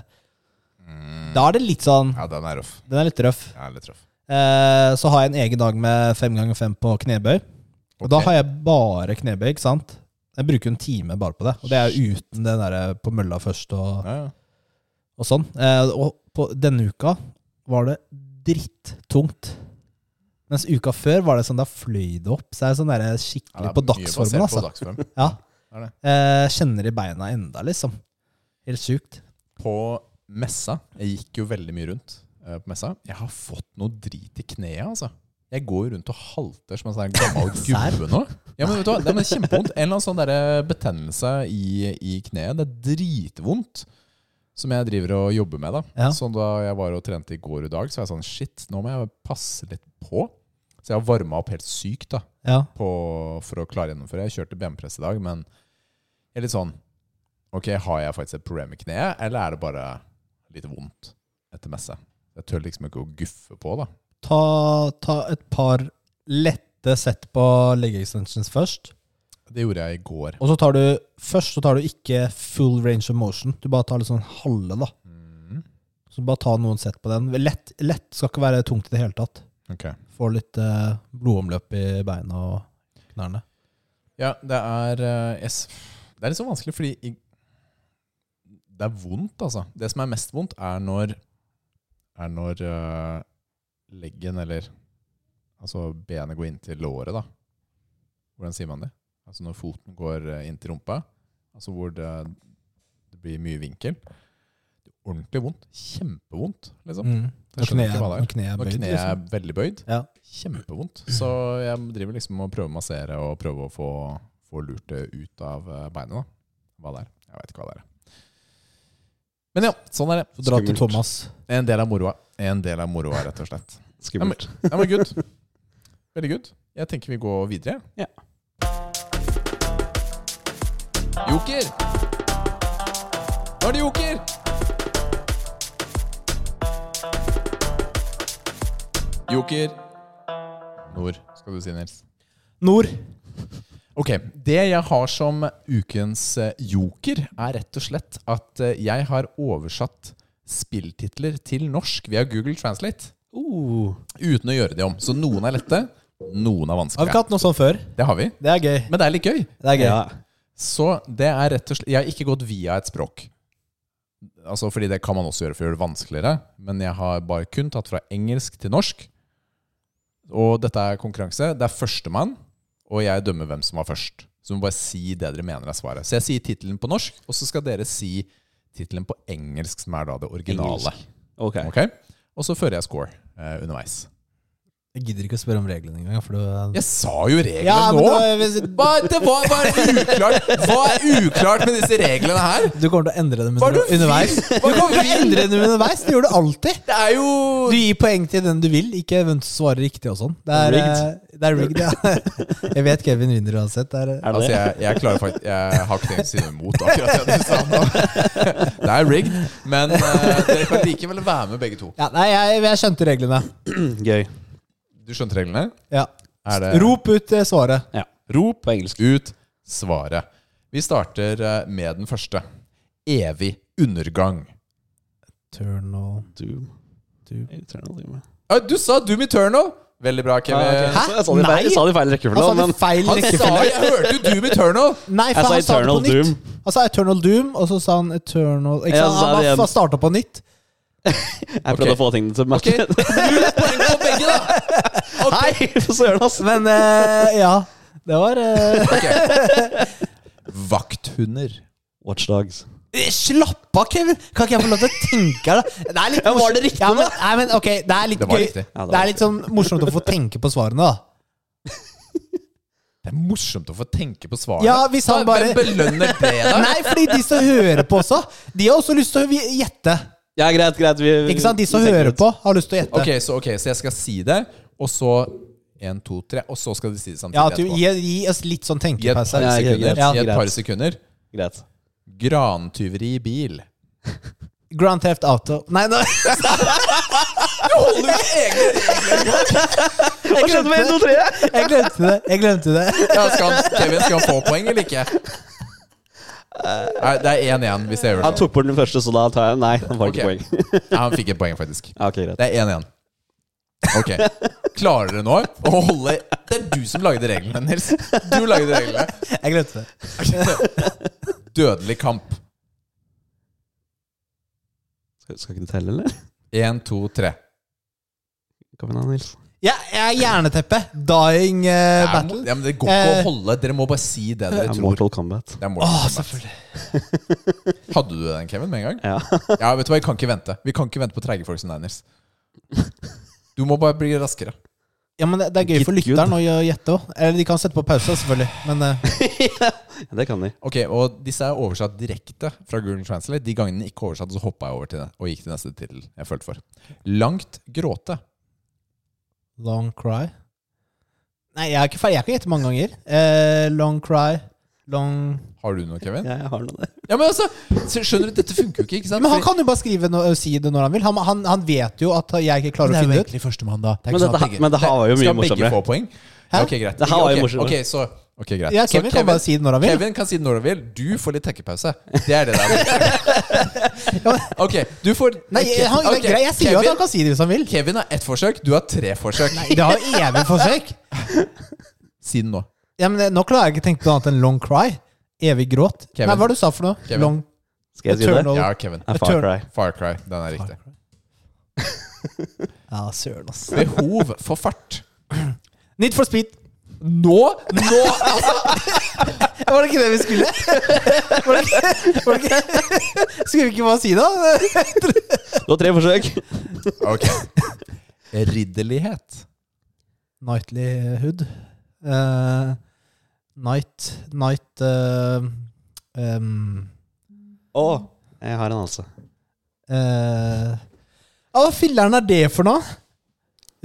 Speaker 1: Da er det litt sånn
Speaker 2: Mm. Ja, den er røff.
Speaker 1: Den er litt røff.
Speaker 2: Den er litt røff.
Speaker 1: Eh, så har jeg en egen dag med fem ganger fem på knebøy. Og da
Speaker 2: Ok.
Speaker 1: har jeg bare knebøy, ikke sant? Jeg bruker en time bare på det. Og det er uten det der eh, på mølla først og,
Speaker 2: Ja, ja.
Speaker 1: og sånn. Eh, og på denne uka var det drittungt. Mens uka før var det sånn, da fløy det opp. Så jeg er sånn der
Speaker 2: Ja, det
Speaker 1: skikkelig
Speaker 2: er
Speaker 1: på
Speaker 2: mye
Speaker 1: dagsformen,
Speaker 2: basert på
Speaker 1: altså.
Speaker 2: dagsform.
Speaker 1: Ja.
Speaker 2: Det er det.
Speaker 1: Eh, kjenner i beina enda, liksom. Helt sjukt.
Speaker 2: På messa Jeg gikk jo veldig mye rundt eh, på messa. Jeg har *laughs* fått noe drit i kneet, altså. Jeg går jo rundt og halter som en sånn gammel
Speaker 1: Serr?
Speaker 2: gubbe nå. Ja, men vet du hva, Det er men kjempevondt. En eller annen sånn der betennelse i, i kneet. Det er dritvondt. Som jeg driver og jobber med. da
Speaker 1: Ja.
Speaker 2: Så da jeg var og trente i går i dag, Så var jeg sånn Shit, nå må jeg passe litt på. Så jeg har varma opp helt sykt da
Speaker 1: Ja.
Speaker 2: på, for å klare gjennomføre. Jeg kjørte benpress i dag, men jeg er litt sånn Ok, har jeg faktisk et problem i kneet, eller er det bare litt vondt etter messe? Jeg tør liksom ikke å guffe på, da.
Speaker 1: Ta, ta et par lette sett på leg extensions først.
Speaker 2: Det gjorde jeg i går.
Speaker 1: Og så tar du først så tar du ikke full range of motion. Du bare tar litt sånn halve, da.
Speaker 2: Mm.
Speaker 1: Så bare ta noen sett på den. Lett, lett skal ikke være tungt i det hele tatt.
Speaker 2: Ok.
Speaker 1: Får litt eh, blodomløp i beina og knærne.
Speaker 2: Ja, det er eh, jeg s- Det er litt så vanskelig, fordi i, det er vondt, altså. Det som er mest vondt, er når Er når eh, leggen, eller altså benet, går inntil låret, da. Hvordan sier man det? Altså når foten går eh, inntil rumpa. Altså hvor det, det blir mye vinkel. Det er ordentlig vondt. Kjempevondt, liksom.
Speaker 1: Mm.
Speaker 2: Jeg
Speaker 1: Når
Speaker 2: skjønner ikke hva det er.
Speaker 1: kneet kne er
Speaker 2: Når
Speaker 1: bøyd.
Speaker 2: kneet er
Speaker 1: Liksom.
Speaker 2: veldig bøyd.
Speaker 1: Ja.
Speaker 2: Kjempevondt. Så jeg driver liksom og prøver å massere og prøve å få, få lurt det ut av eh, beinet. da. Hva det er. Jeg veit ikke hva det er. Men ja, sånn er det.
Speaker 1: Så dra til
Speaker 3: Skummelt.
Speaker 1: Thomas.
Speaker 2: En del av moroa. En del av moroa, rett og slett.
Speaker 3: Skummelt.
Speaker 2: Ja, men good. Veldig good. Jeg tenker vi går videre.
Speaker 3: Ja.
Speaker 2: Joker! Nå er det joker! Joker. Nord, skal du si, Nils.
Speaker 1: Nord.
Speaker 2: Ok, Det jeg har som ukens eh, joker, er rett og slett at eh, jeg har oversatt spilltitler til norsk via Google Translate.
Speaker 3: Uh,
Speaker 2: Oh. Uten å gjøre de om. Så noen er lette,
Speaker 1: Har
Speaker 2: noen er
Speaker 1: vi
Speaker 2: vanskelige.
Speaker 1: ikke hatt noe sånt før?
Speaker 2: Det har vi.
Speaker 1: Det er gøy.
Speaker 2: Men det er litt gøy.
Speaker 1: Det er gøy.
Speaker 3: ja.
Speaker 2: Så det er rett og slett Jeg har ikke gått via et språk. Altså Fordi det kan man også gjøre for å gjøre det vanskeligere. Men jeg har bare kun tatt fra engelsk til norsk. Og dette er konkurranse. Det er førstemann, og jeg dømmer hvem som var først. Så du må bare si det dere mener er svaret. Så jeg sier tittelen på norsk, og så skal dere si tittelen på engelsk, som er da det originale.
Speaker 3: Engelsk. Ok.
Speaker 2: Ok? Og så fører jeg score eh, underveis.
Speaker 1: Jeg gidder ikke å spørre om reglene engang. For du,
Speaker 2: Jeg sa jo reglene
Speaker 1: ja, men
Speaker 2: nå!
Speaker 1: da, hvis,
Speaker 2: Hva, det var bare uklart! Hva er uklart med disse reglene her?
Speaker 1: du kommer til å endre dem
Speaker 2: Var du
Speaker 1: under, underveis.
Speaker 2: fin?
Speaker 1: Du kommer til å endre dem underveis. Det gjør du alltid.
Speaker 2: Det er jo
Speaker 1: Du gir poeng til den du vil, ikke hvem som svarer riktig og sånn. Det er
Speaker 3: Rigged.
Speaker 1: rigged. Det er rigged ja. *laughs* Jeg vet Kevin vinner uansett. Det er, eh,
Speaker 3: Er det
Speaker 2: Altså,
Speaker 3: det?
Speaker 2: jeg, jeg klarer faktisk Jeg har ikke tenkt å si noe imot akkurat det du sa nå. Det er rigged, men eh, dere kan likevel være med begge to.
Speaker 1: ja, nei, jeg, jeg skjønte reglene.
Speaker 3: *clears throat* Gøy.
Speaker 2: Du skjønte reglene?
Speaker 1: Ja.
Speaker 2: Er det
Speaker 1: Rop ut eh, svaret.
Speaker 3: Ja.
Speaker 2: Rop
Speaker 3: På engelsk.
Speaker 2: ut svaret. Vi starter eh, med den første. Evig undergang.
Speaker 1: Eternal
Speaker 3: Doom.
Speaker 1: Doom.
Speaker 3: Eternal Doom.
Speaker 2: Ah, du sa Doom Eternal! Veldig bra, Kevin.
Speaker 3: Hæ?
Speaker 1: Hæ?
Speaker 3: Jeg sa det i feil- jeg sa det i feil rekkefølge,
Speaker 1: Han sa
Speaker 3: men
Speaker 1: det feil
Speaker 2: Han sa
Speaker 1: rekkefølge.
Speaker 2: Jeg hørte jo Doom Eternal!
Speaker 1: Nei,
Speaker 3: jeg
Speaker 1: for han sa
Speaker 3: sa
Speaker 1: det på
Speaker 3: Eternal
Speaker 1: nytt.
Speaker 3: Doom.
Speaker 1: Han sa Eternal Doom, og så sa han Eternal ikke
Speaker 3: Ja,
Speaker 1: sant?
Speaker 3: så sa
Speaker 1: Han
Speaker 3: det
Speaker 1: bare
Speaker 3: igjen.
Speaker 1: fa- starta på nytt.
Speaker 3: Jeg
Speaker 2: Ok.
Speaker 3: prøvde å få tingene til å
Speaker 2: Ok,
Speaker 3: matche.
Speaker 2: null poeng på begge, da! Ok.
Speaker 3: *laughs* Nei, for søren, ass!
Speaker 1: Men eh, ja. Det var eh,
Speaker 2: Vakthunder.
Speaker 3: Watchdogs.
Speaker 1: *laughs* Slapp av, Kevin! Kan ikke jeg få lov til å tenke her, da? Det er litt
Speaker 3: Ja, var det
Speaker 1: morsomt-
Speaker 3: riktig,
Speaker 1: ja, men, nei, men, ok, det er litt
Speaker 2: Det var
Speaker 1: gøy.
Speaker 2: riktig.
Speaker 3: Ja, det
Speaker 1: Det
Speaker 3: var
Speaker 1: er litt sånn morsomt å få tenke på svarene, da.
Speaker 2: Det er morsomt å få tenke på svarene.
Speaker 1: Ja, hvis han
Speaker 2: Hva-
Speaker 1: bare-
Speaker 2: Hvem belønner det, da?
Speaker 1: Nei, fordi de som hører på også, de har også lyst til å vi- gjette.
Speaker 3: Ja, greit, greit. Vi,
Speaker 1: Ikke sant? De som
Speaker 3: vi tenker
Speaker 1: hører
Speaker 3: litt.
Speaker 1: på, har lyst til å gjette.
Speaker 2: *laughs* Ok, så, ok, så jeg skal si det, og så En, to, tre, og så skal de si det samtidig.
Speaker 1: Ja, at du,
Speaker 2: etterpå.
Speaker 1: gi, gi oss litt sånn
Speaker 2: I et par
Speaker 1: tenkepause.
Speaker 3: Ja, greit,
Speaker 2: sekunder.
Speaker 1: greit.
Speaker 2: I et par
Speaker 3: Greit.
Speaker 2: sekunder.
Speaker 3: Greit.
Speaker 2: Grantyveri i bil.
Speaker 1: Grand Theft Auto Nei, *laughs* nå
Speaker 3: Hva skjedde med 1, 2, 3?
Speaker 1: jeg glemte det. Jeg glemte det.
Speaker 2: Ja, skal han, Kevin, skal han få poeng eller ikke? Nei, det er 1-1 hvis jeg gjør
Speaker 3: Han
Speaker 2: det.
Speaker 3: tok bort den første, så da tar jeg Nei, han var ikke
Speaker 2: Ok.
Speaker 3: poeng. *laughs*
Speaker 2: Ja, han fikk et poeng, faktisk.
Speaker 3: Ja, ok, greit.
Speaker 2: Det er 1-1. Ok. Klarer dere nå å holde Det er du som lagde reglene, Nils. Du lagde reglene.
Speaker 1: Jeg glemte det.
Speaker 2: Dødelig kamp.
Speaker 3: Skal, skal ikke du telle, eller?
Speaker 2: Én, to, tre.
Speaker 3: Kom igjen, da, Nils.
Speaker 1: Ja, jeg er jerneteppe. Dying eh,
Speaker 2: Det er mo-
Speaker 1: Battle.
Speaker 2: Ja, men det går ikke
Speaker 1: Eh.
Speaker 2: å holde. Dere må bare si det
Speaker 3: Det
Speaker 2: dere
Speaker 3: er
Speaker 2: tror.
Speaker 3: Mortal Kombat.
Speaker 2: Det er
Speaker 1: Å,
Speaker 2: Mortal Kombat.
Speaker 1: selvfølgelig.
Speaker 2: Hadde du den, Kevin, med en gang?
Speaker 3: Ja. *laughs*
Speaker 2: Ja, vet du hva, Vi kan ikke vente Vi kan ikke vente på treige folk som deg, Nils. Du må bare bli raskere.
Speaker 1: Ja, men det, det er gøy
Speaker 3: Gitt
Speaker 1: for
Speaker 3: Gud.
Speaker 1: lytteren å gjø- gjette òg. Eller de kan sette på pause, selvfølgelig. Men eh,
Speaker 3: Det kan de.
Speaker 2: Ok, og Disse er oversatt direkte fra Google Translate. De gangene den ikke er oversatt, så hoppa jeg over til det og gikk til neste tittel jeg følte for. Langt gråte.
Speaker 1: long cry Nei, jeg er ikke ferdig. Jeg kan gjette mange ganger. Eh, long cry, long
Speaker 2: Har du noe, Kevin?
Speaker 3: Jeg har noe der.
Speaker 2: Ja, men altså, Skjønner du, dette funker jo ikke. ikke sant?
Speaker 1: Men han kan jo bare skrive no og si det når han vil. Han, han, han vet jo at jeg ikke klarer å finne det sånn ut.
Speaker 2: førstemann, da.
Speaker 3: Men dette, her- men det her var jo mye
Speaker 2: Skal begge
Speaker 3: morsommere.
Speaker 2: få poeng?
Speaker 1: Hæ?
Speaker 2: Ok, greit.
Speaker 3: Det her var jo
Speaker 2: Ok,
Speaker 3: morsommere.
Speaker 2: ok, så... Ok, greit.
Speaker 1: Ja,
Speaker 2: Så
Speaker 1: Kevin, kan bare si det når han vil.
Speaker 2: Kevin kan si det når han vil. Du får litt tekkepause. Det er det der. Ok, du får
Speaker 1: Nei, han,
Speaker 2: Ok,
Speaker 1: det er greit, jeg sier jo at han kan si det hvis han vil.
Speaker 2: Kevin har ett forsøk, du har tre forsøk.
Speaker 1: Det har jo evig forsøk.
Speaker 2: Si det nå.
Speaker 1: Ja, men eh, Nå klarer jeg ikke å tenke på noe annet enn long cry. Evig gråt.
Speaker 2: Kevin.
Speaker 1: Nei, hva var det du sa for noe?
Speaker 2: Kevin.
Speaker 1: Long
Speaker 3: Skal jeg si det?
Speaker 1: Eternal-
Speaker 2: Ja, Kevin.
Speaker 3: Ja, Far Cry.
Speaker 2: Far Cry. Den er riktig.
Speaker 1: Ja, søren, ass.
Speaker 2: Behov for fart.
Speaker 1: Need for speed.
Speaker 2: Nå! Nå!
Speaker 1: Var det ikke det vi *laughs* skulle? Var det ikke, var det ikke? Skulle vi ikke bare si det?
Speaker 3: Du har tre
Speaker 1: *laughs*
Speaker 3: forsøk.
Speaker 2: Ok. Ridderlighet.
Speaker 1: Nightlyhood. Uh, night Night eh, um,
Speaker 3: Å, jeg har en altså.
Speaker 1: eh, ja, Hva filler'n er det for noe?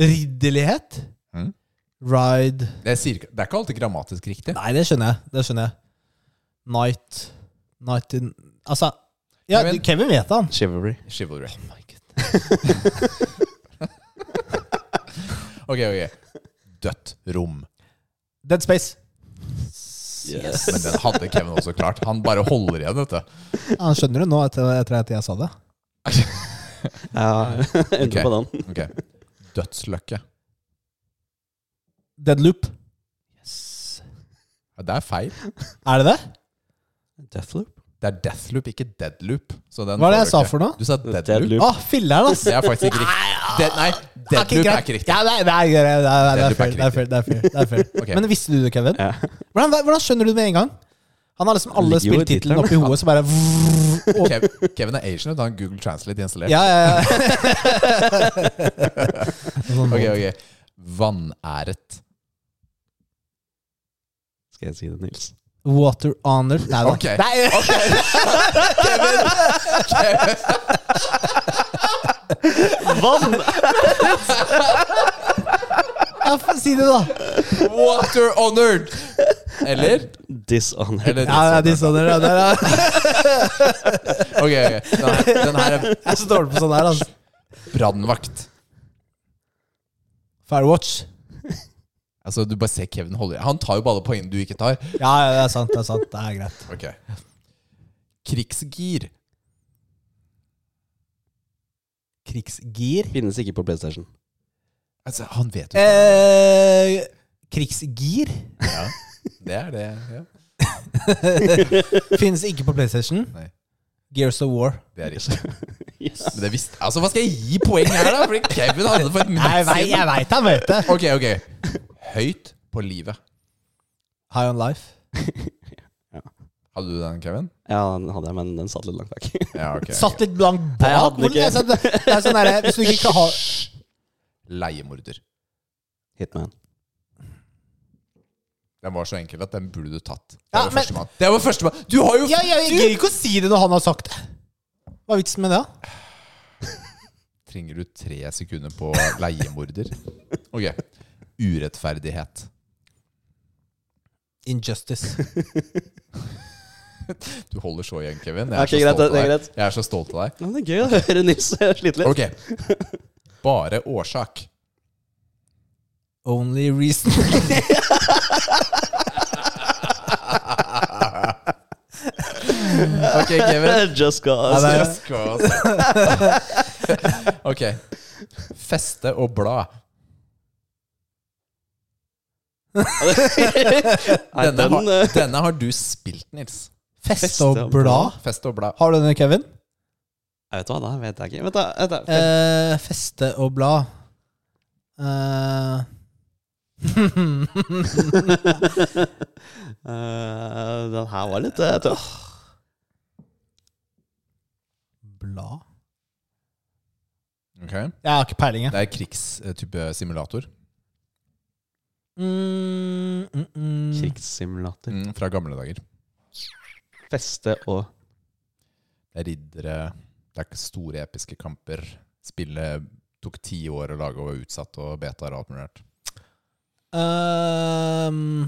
Speaker 1: Ridderlighet?
Speaker 2: Mm.
Speaker 1: Ride
Speaker 2: Det, sier, ikke- det er ikke alltid grammatisk riktig.
Speaker 1: Nei, det skjønner jeg. Det skjønner jeg. Night Night in Altså ja,
Speaker 2: Kevin.
Speaker 1: Kevin, Kevin vet han.
Speaker 3: Chivalry.
Speaker 2: Chivalry. ok, ok. Dødt rom.
Speaker 1: Dead Space.
Speaker 3: Yes.
Speaker 2: Men den hadde Kevin også klart. Han bare holder igjen, vet du.
Speaker 1: Ja, *laughs* Han skjønner det nå etter, etter at jeg sa det.
Speaker 3: Ja, *laughs* undrer
Speaker 2: Ok.
Speaker 3: på den.
Speaker 2: Ok. Dødsløkke.
Speaker 1: Dead Loop.
Speaker 2: Ja, Det er feil.
Speaker 1: Er det det?
Speaker 3: Deathloop?
Speaker 2: Det er deathloop, ikke deadloop. Så den
Speaker 1: Hva er det
Speaker 2: får
Speaker 1: jeg
Speaker 2: du
Speaker 1: sa
Speaker 2: ikke.
Speaker 1: for noe?
Speaker 2: Du sa
Speaker 3: Deadloop.
Speaker 2: deadloop.
Speaker 1: Å, filler'n, ass!
Speaker 2: Det er faktisk ikke riktig. Det- nei, deadloop er ikke riktig.
Speaker 1: Ja, nei, nei, nei, nei, nei, nei, det er
Speaker 2: Deadloop
Speaker 1: fair. Det er
Speaker 2: er
Speaker 1: fair, det er fair, det er fair.
Speaker 2: *laughs* Ok.
Speaker 1: Men visste du det, Kevin?
Speaker 3: Ja.
Speaker 1: Hvordan, hvordan skjønner du det med en gang? Han har liksom alle
Speaker 3: Ligger jo i
Speaker 1: spilltitlene oppi
Speaker 3: tittelen.
Speaker 1: hodet, så
Speaker 2: *laughs*
Speaker 1: bare vrrr, og,
Speaker 2: Kev, Kevin er Asian, han har Google Translate installert.
Speaker 1: Ja, ja, ja. Sånn.
Speaker 2: *laughs* Ok, ok. Vanæret.
Speaker 3: Skal jeg si det, Nils?
Speaker 1: Water honor Nei da.
Speaker 2: Ok.
Speaker 1: Nei,
Speaker 3: Vann!
Speaker 1: ja, f- si det, da.
Speaker 2: Water honored! Eller?
Speaker 3: Dishonor.
Speaker 2: Eller
Speaker 1: Ja, ja, de
Speaker 2: sånn
Speaker 1: sånne, ja, der, ja. *laughs*
Speaker 2: Ok, ok. Den her, den her er
Speaker 1: Jeg er så dårlig på sånn her, altså.
Speaker 2: brannvakt.
Speaker 1: Firewatch.
Speaker 2: Altså, du bare ser Kevin holder Han tar jo bare alle poengene du ikke tar.
Speaker 1: Ja, ja, det er sant. Det er sant, det er greit.
Speaker 2: Ok. Krigsgir.
Speaker 1: Krigsgir.
Speaker 3: Finnes ikke på PlayStation.
Speaker 2: Altså, han vet jo
Speaker 1: Eh, krigsgir
Speaker 2: ja. Det er det. Ja.
Speaker 1: finnes ikke på PlayStation.
Speaker 2: Nei.
Speaker 1: Gears of War.
Speaker 2: Det er riktig.
Speaker 1: *laughs*
Speaker 3: Yes.
Speaker 2: Men det visste Altså, hva skal jeg gi poeng her, da? Fordi Kevin hadde det for et
Speaker 1: Jeg
Speaker 2: minutt
Speaker 1: vei-
Speaker 2: siden.
Speaker 1: jeg veit han vet det.
Speaker 2: Ok, ok. Høyt på livet.
Speaker 1: High on life.
Speaker 2: Hadde du den, Kevin?
Speaker 3: Ja, den hadde jeg, men den satt litt langt bak. *laughs*
Speaker 2: Ja, ok. ok.
Speaker 1: Satt litt blankt bak.
Speaker 3: Nei, jeg hadde den
Speaker 1: Hvordan-
Speaker 3: ikke.
Speaker 1: altså, det, det er sånn der, hvis du ikke har
Speaker 2: Leiemorder.
Speaker 3: Hitman.
Speaker 2: Den var så enkel at den burde du tatt. Det
Speaker 1: Ja,
Speaker 2: var
Speaker 1: men-
Speaker 2: førstemann. Det var førstemann. Du har jo
Speaker 1: ja, ja, Jeg
Speaker 2: du-
Speaker 1: gidder ikke å si det når han har sagt det. Hva er vitsen med det? da?
Speaker 2: Trenger du tre sekunder på
Speaker 3: *laughs*
Speaker 2: leiemorder? Ok. Urettferdighet.
Speaker 1: Injustice.
Speaker 2: Du holder så igjen, Kevin.
Speaker 3: Ok,
Speaker 2: så
Speaker 3: greit,
Speaker 2: stolt av
Speaker 3: det er
Speaker 2: deg.
Speaker 3: greit.
Speaker 2: Jeg er så stolt av deg.
Speaker 3: Ja, men det er gøy å høre Nils eh, slite litt.
Speaker 2: Ok. Bare
Speaker 3: *laughs*
Speaker 2: årsak.
Speaker 1: Only reason.
Speaker 2: Ok, Kevin.
Speaker 3: Eh, Just cause.
Speaker 1: Ja, det er-
Speaker 2: Just cause. Ok. Feste og blad.
Speaker 3: *laughs* Nei,
Speaker 2: Denne,
Speaker 3: den,
Speaker 2: har,
Speaker 3: eh,
Speaker 2: denne har du spilt, Nils.
Speaker 1: Fest
Speaker 3: Fest
Speaker 1: og
Speaker 3: og
Speaker 1: blad.
Speaker 2: Feste og blad.
Speaker 1: Har du den, Kevin?
Speaker 3: Jeg vet hva, da vet jeg ikke. Vent, da. Vent, da.
Speaker 1: Eh, feste og blad. Eh, *laughs*
Speaker 3: Eh, den her var litt eh, tøff.
Speaker 1: blad
Speaker 2: Ok.
Speaker 1: Jeg har ikke peiling, jeg.
Speaker 2: Det er krigstype simulator.
Speaker 1: Mm, mm, mm.
Speaker 3: Krigssimulator.
Speaker 2: Mm, fra gamle dager.
Speaker 3: Feste og
Speaker 2: Det er riddere, det er ikke store episke kamper. Spillet tok ti år å lage og var utsatt og betaer og alt mulig rart.
Speaker 1: Ehm,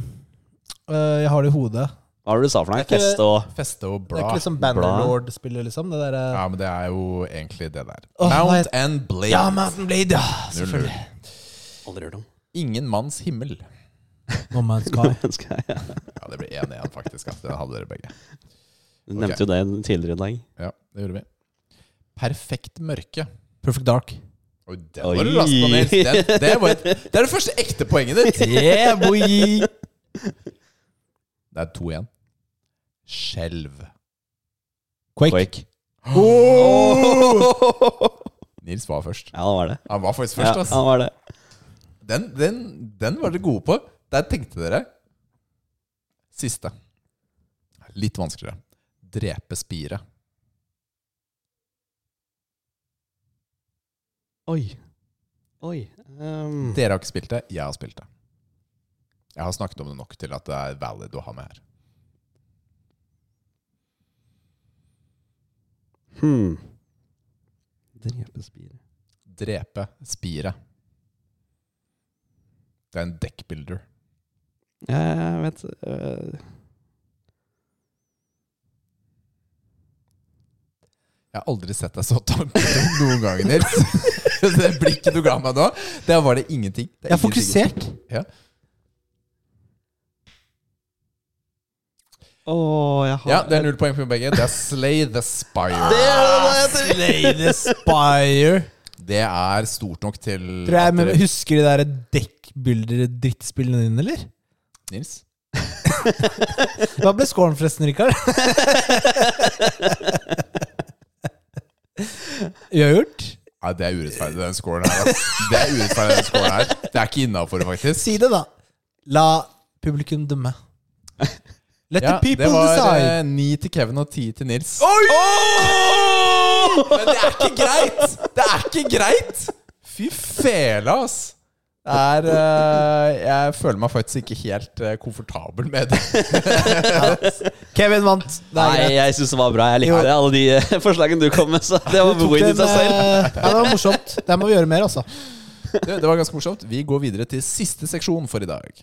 Speaker 1: øh, jeg har det i hodet.
Speaker 3: Hva var det du sa for noe?
Speaker 1: Det er ikke-
Speaker 3: Feste og
Speaker 2: Feste og
Speaker 1: Det er
Speaker 2: bla.
Speaker 1: ikke liksom Bannerlord-spillet, liksom? Det derre
Speaker 2: Ja, men det er jo egentlig det der.
Speaker 1: Åh, hva
Speaker 2: Mount
Speaker 1: het-
Speaker 2: and Blade.
Speaker 1: Ja, Mountain Blade, ja!
Speaker 2: Null, null.
Speaker 1: Selvfølgelig.
Speaker 3: Aldri hørt om.
Speaker 2: Ingen manns himmel.
Speaker 1: No Man's Sky.
Speaker 3: Ønsker *laughs* jeg, ja.
Speaker 2: Ja, det blir 1-1, faktisk. At det hadde dere begge.
Speaker 3: Du nevnte jo det tidligere i dag.
Speaker 2: Ja, det gjorde vi. Perfekt mørke.
Speaker 1: Perfect Dark.
Speaker 2: Oi, det var
Speaker 3: Oi.
Speaker 2: du rask på, Nils. Det, det, var et, det er det første ekte poenget ditt.
Speaker 1: *laughs* Yeah, boy!
Speaker 2: Det er to igjen. Skjelv.
Speaker 1: Quake.
Speaker 3: Quake.
Speaker 2: Nils var først.
Speaker 3: *laughs* Ja, han var det.
Speaker 2: Han var faktisk
Speaker 3: Ja,
Speaker 2: først, ass.
Speaker 3: han var det.
Speaker 2: Den, den, den var dere gode på. Der tenkte dere. Siste. Litt vanskeligere. Drepe spire.
Speaker 3: Oi. Oi. ehm,
Speaker 2: Dere har ikke spilt det, jeg har spilt det. Jeg har snakket om det nok til at det er valid å ha med her.
Speaker 3: hmm. Drepespire.
Speaker 2: Drepe spire. Det er en deckbuilder.
Speaker 3: Ja, jeg vet øh,
Speaker 2: Jeg har aldri sett deg så tanketom noen gang, Nils. *laughs* det blikket du ga meg nå, der var det ingenting. Det
Speaker 1: Jeg er
Speaker 2: ingenting.
Speaker 1: fokusert.
Speaker 3: Å, jeg har
Speaker 2: Ja, det er null poeng for begge. Det er Slay the Spire.
Speaker 1: Ah, Slay the Spire.
Speaker 2: Det er stort nok til
Speaker 1: Tror jeg,
Speaker 2: at
Speaker 1: men
Speaker 2: dere-
Speaker 1: Husker de der dekkbilder-drittspillene dine, eller?
Speaker 2: Nils?
Speaker 1: Hva ble scoren forresten,
Speaker 2: *laughs*
Speaker 1: Rikard? Uavgjort?
Speaker 2: Nei, det er urettferdig, den scoren her. ass. Det er urettferdig, den scoren her. Det er ikke innafor, faktisk.
Speaker 1: Si det, da. La publikum dømme. Let
Speaker 2: Ja,
Speaker 1: the people
Speaker 2: det var
Speaker 1: decide.
Speaker 2: eh, ni til Kevin og ti til Nils.
Speaker 1: Oi!
Speaker 2: Men det er ikke greit! Det er ikke greit! Fy fela, ass. Det er eh, Jeg føler meg faktisk ikke helt eh, komfortabel med det.
Speaker 1: Kevin vant. Det er
Speaker 3: Nei,
Speaker 1: greit.
Speaker 3: jeg syns det var bra. Jeg likte alle de eh, *laughs* forslagene du kom med. Så det var
Speaker 1: Tok
Speaker 3: win i
Speaker 1: den,
Speaker 3: seg selv.
Speaker 1: eh, ja, det var morsomt. Der må vi gjøre mer, altså.
Speaker 2: Du, det var ganske morsomt. Vi går videre til siste seksjon for i dag.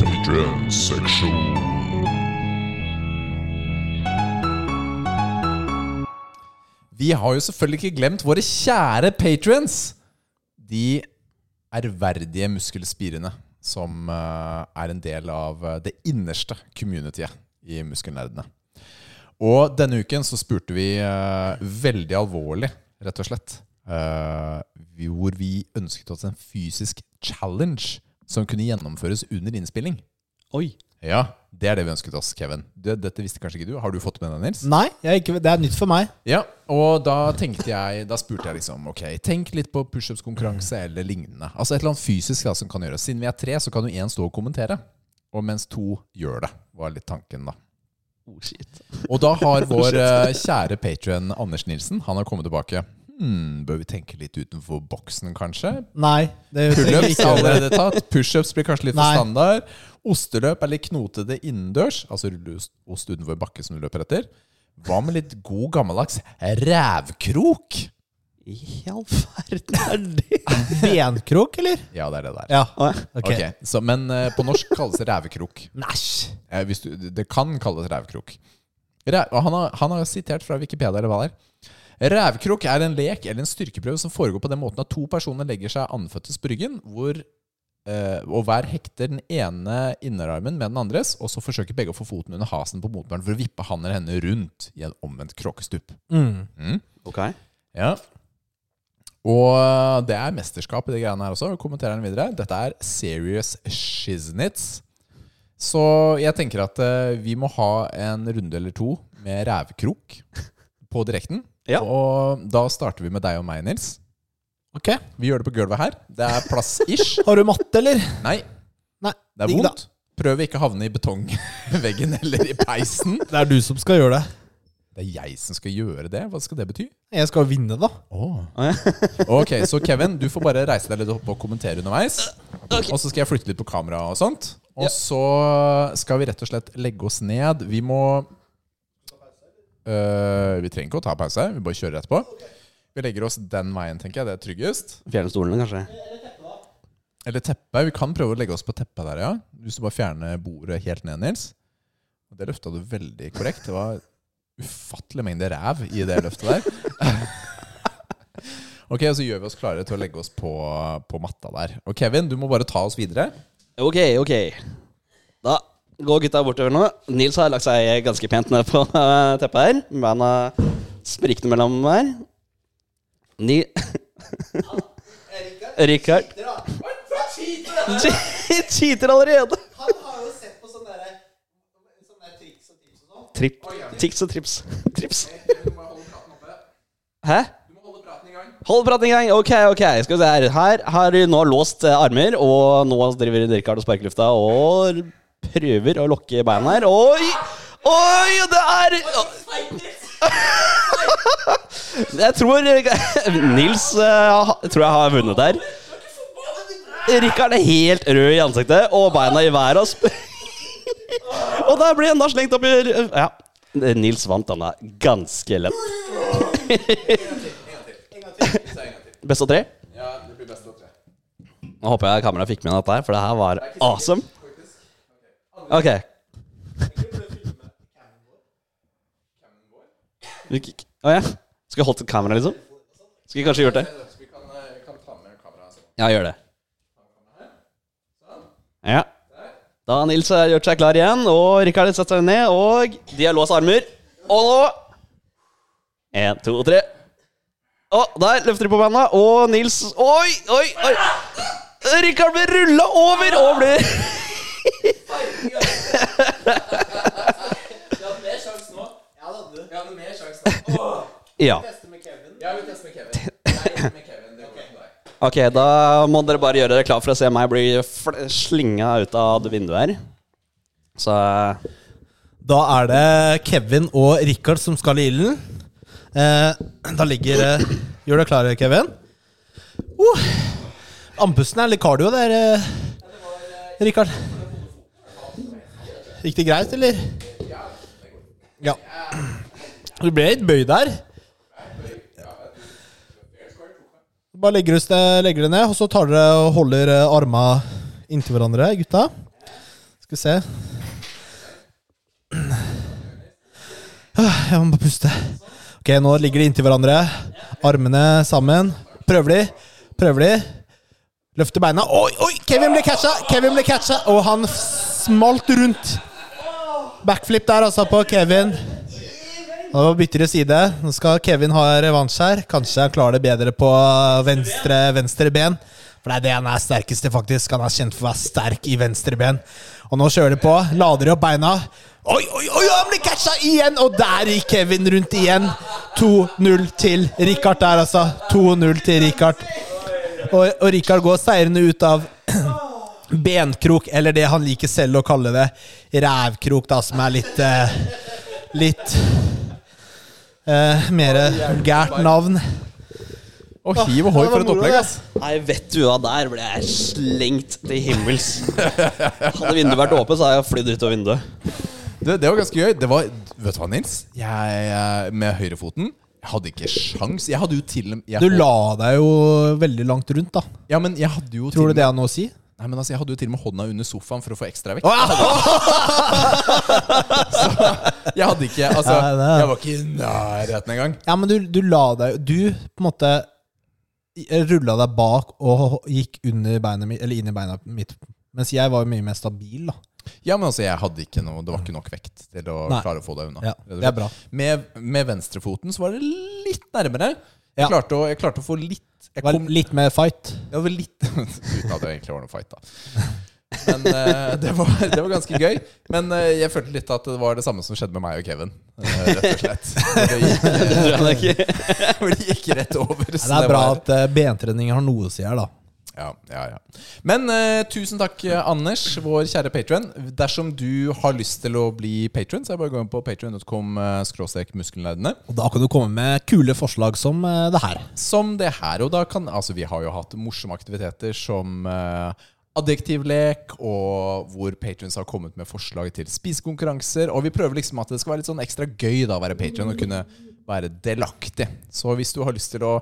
Speaker 4: Patreon section.
Speaker 2: Vi har jo selvfølgelig ikke glemt våre kjære patrions. De ærverdige muskelspirene som eh, er en del av eh, det innerste communityet i Muskelnerdene. Og denne uken så spurte vi eh, veldig alvorlig, rett og slett, eh, vi- hvor vi ønsket oss en fysisk challenge som kunne gjennomføres under innspilling.
Speaker 3: Oi.
Speaker 2: Ja, det er det vi ønsket oss, Kevin. Det, dette visste kanskje ikke du. Har du fått med deg, Nils?
Speaker 1: Nei, jeg er ikke, det er nytt for meg.
Speaker 2: Ja, og da tenkte jeg Da spurte jeg liksom Ok, tenk litt på pushups-konkurranse eller lignende. Altså et eller annet fysisk da, som kan gjøres. Siden vi er tre, så kan jo én stå og kommentere. Og mens to gjør det, var litt tanken, da.
Speaker 3: Oh, shit.
Speaker 2: Og da har
Speaker 1: *laughs*
Speaker 2: vår eh, kjære patrion Anders Nilsen Han har kommet tilbake. Hmm, bør vi tenke litt utenfor boksen, kanskje?
Speaker 1: Nei. Det trenger vi
Speaker 2: Pullups
Speaker 1: ikke
Speaker 2: er
Speaker 1: gjøre.
Speaker 2: allerede tatt. Pushups blir kanskje litt for
Speaker 1: Nei.
Speaker 2: standard. Osteløp er litt knotete innendørs, altså rulleost ost utenfor bakke som du løper etter. Hva med litt god gammeldags rævkrok?
Speaker 3: I all verden er det
Speaker 1: Benkrok, eller?
Speaker 2: Ja, det er det der.
Speaker 1: Ja.
Speaker 3: Å,
Speaker 1: Ok.
Speaker 2: Ok, så, Men eh, på norsk kalles det rævekrok.
Speaker 1: Næsj.
Speaker 2: Eh, hvis du, det kan kalles rævkrok. Ræ, og han, har, han har sitert fra Wikipedia eller hva det er. Rævkrok er en lek eller en styrkeprøve som foregår på den måten at to personer legger seg anføttes på ryggen, hvor, eh, og hver hekter den ene innerarmen med den andres, og så forsøker begge å få foten under hasen på motbæren for å vippe han eller henne rundt i en omvendt kråkestup.
Speaker 1: Mm.
Speaker 2: Mm.
Speaker 3: Ok.
Speaker 2: Ja. Og eh, det er mesterskap i de greiene her også. Kommenterer den videre. Dette er serious shiznits. Så jeg tenker at eh, vi må ha en runde eller to med rævkrok på direkten.
Speaker 3: Ja.
Speaker 2: Og da starter vi med deg og meg, Nils.
Speaker 1: Ok.
Speaker 2: Vi gjør det på gulvet her. Det er
Speaker 1: *laughs*
Speaker 2: plass-ish.
Speaker 1: Har du matte, eller?
Speaker 2: Nei,
Speaker 1: Nei.
Speaker 2: det er
Speaker 1: digg da.
Speaker 2: vondt. Prøv å ikke havne i betongveggen *laughs* eller i peisen.
Speaker 1: Det er du som skal gjøre det.
Speaker 2: Det er jeg som skal gjøre det. Hva skal det bety?
Speaker 1: Jeg skal vinne, da.
Speaker 2: Ok, så Kevin, du får bare reise deg litt opp og kommentere underveis. Og så skal jeg flytte litt på kamera og sånt. Og så skal vi rett og slett legge oss ned. Vi må Øh, Vi trenger ikke å ta pause, vi bare kjører etterpå. Vi legger oss den veien, tenker jeg. Det er tryggest.
Speaker 3: Fjerne stolene, kanskje.
Speaker 2: Eller teppet. Vi kan prøve å legge oss på teppet der, ja. Hvis du bare fjerner bordet helt ned, Nils. Og Det løfta du veldig korrekt. Det var ufattelig mengde ræv i det løftet der. *laughs* Ok, så gjør vi oss klare til å legge oss på, på matta der. Og Kevin, du må bare ta oss videre.
Speaker 3: Ok, ok. Da går gutta bortover nå. Nils har lagt seg ganske pent ned på eh, teppet her. Med handa sprikende mellom her. Ni... *laughs* Rikard. Cheater allerede!
Speaker 1: Han har jo sett på
Speaker 2: sånn
Speaker 1: sånne der, sånne der triks og tips og sånn.
Speaker 3: Tripp. Tics og trips. Trips.
Speaker 2: Du må holde praten oppe.
Speaker 3: Hæ?
Speaker 2: Du må holde praten i gang.
Speaker 3: Hold praten i gang. Ok, ok. Skal vi se her. Her har du nå låst eh, armer, og nå driver Rikard og sparker lufta og prøver å lokke beina her. Oi! Oi, og det er *laughs* Jeg tror *laughs* Nils eh, ha- tror jeg har vunnet her. Rikard er helt rød i ansiktet og beina i været. Og, sp *laughs* og der blir han da slengt opp i Ja. Nils vant den da ganske lett. Best av tre?
Speaker 2: Ja, det blir best av tre.
Speaker 3: Nå håper jeg kameraet fikk med dette, her, for det her var awesome. Ok. Du kikk- Å ja. Skulle jeg holdt et kamera, liksom? Skulle jeg kanskje gjort det?
Speaker 2: Vi kan, ta med kameraet.
Speaker 3: Ja, gjør det. Ja. Da har Nils har gjort seg klar igjen, og Rikard setter seg ned, og de har låst armer. Og nå Én, to, tre. Og der løfter de på beina, og Nils Oi, oi, oi! Rikard blir rulla over og blir
Speaker 2: Jeg hadde mer sjanse nå. Jeg hadde, jeg hadde mer sjanse nå.
Speaker 3: Ja.
Speaker 2: Jeg vil teste med Kevin. Jeg vil med Kevin. Det går til deg.
Speaker 3: Ok, da må dere bare gjøre dere klar for å se meg bli fl- slinga ut av det vinduet her. Så
Speaker 1: Da er det Kevin og Richard som skal i ilden. Eh, da ligger eh, Gjør deg klar, Kevin. Oh, andpusten er litt cardio der, eh, Richard. Gikk det greit, eller? Ja. Du ble litt bøyd der. Bare legger du deg- legger det ned, og så tar dere og holder eh, arma inntil hverandre, gutta. Skal vi se. Jeg må bare puste. Ok, nå ligger de inntil hverandre. Armene sammen. Prøver de. Prøver de. Løfter beina. Oi, oi! Kevin ble catcha! Kevin ble catcha! Og han smalt rundt. Backflip der, altså, på Kevin. Nå bytter de side. Nå skal Kevin ha revansj her. Kanskje han klarer det bedre på venstre, venstre ben. For det er det han er sterkest i, faktisk. Han er kjent for å være sterk i venstre ben. Og nå kjører de på. Lader de opp beina. Oi, oi, oi, han blir catcha igjen! Og der gikk Kevin rundt igjen. 2-0 til Richard der, altså. 2-0 til Richard. Og, og Richard går seirende ut av *clears throat* benkrok, eller det han liker selv å kalle det, rævkrok, da, som er litt eh, Litt eh, mer vulgært navn.
Speaker 2: Og hiv og hoi for et opplegg, ass.
Speaker 3: Nei, vet du hva, der ble jeg slengt til himmels. Hadde vinduet vært åpent, så hadde jeg flydd ut av vinduet.
Speaker 2: Det, det var ganske gøy. Det var, vet du hva, Nils? Jeg, eh, med høyrefoten jeg hadde ikke sjans. Jeg hadde jo til og med jeg
Speaker 1: Du
Speaker 2: holdt-
Speaker 1: la deg jo veldig langt rundt, da.
Speaker 2: Ja, men jeg hadde jo
Speaker 1: Tror
Speaker 2: til
Speaker 1: du det er noe å si?
Speaker 2: Nei, men altså, jeg hadde jo til og med hånda under sofaen for å få ekstra vekt.
Speaker 1: Åh!
Speaker 2: Så jeg hadde ikke Altså,
Speaker 1: Ja, det er-
Speaker 2: jeg var ikke i nærheten engang.
Speaker 1: Ja, men du, du la deg Du på en måte rulla deg bak og gikk under beinet mitt, eller inn i beina mitt. Mens jeg var jo mye mer stabil, da.
Speaker 2: Ja, men altså, jeg hadde ikke noe Det var ikke nok vekt til å
Speaker 1: Nei.
Speaker 2: klare å få deg unna.
Speaker 1: Ja,
Speaker 2: rett og
Speaker 1: det er
Speaker 2: slett.
Speaker 1: bra.
Speaker 2: Med, med venstrefoten så var det litt nærmere. Jeg,
Speaker 1: Ja.
Speaker 2: klarte, å, jeg klarte å få litt Jeg
Speaker 1: Var
Speaker 2: kom
Speaker 1: litt mer fight.
Speaker 2: *laughs* Jeg var litt Uten at det egentlig var noe fight, da. Men eh, det, var, *laughs* det var ganske gøy. Men eh, jeg følte litt at det var det samme som skjedde med meg og Kevin. eh, rett og slett. Det gikk,
Speaker 3: *laughs* Det tror jeg ikke.
Speaker 2: *laughs* for det gikk rett over.
Speaker 1: Nei,
Speaker 2: så
Speaker 1: det er bra
Speaker 2: var-
Speaker 1: at eh, bentrening har noe å si her, da.
Speaker 2: Ja, ja, ja. Men eh, tusen takk, eh, Anders, vår kjære patron. Dersom du har lyst til å bli patron, så er det bare å gå inn på patron.com eh, skråstrek muskelnerdene.
Speaker 1: Og da kan du komme med kule forslag som eh, det her.
Speaker 2: Som det her og da kan Altså, vi har jo hatt morsomme aktiviteter som eh, Adjektivlek, og hvor patrons har kommet med forslag til spisekonkurranser. Og vi prøver liksom at det skal være litt sånn ekstra gøy da å være patron og kunne være delaktig. Så hvis du har lyst til å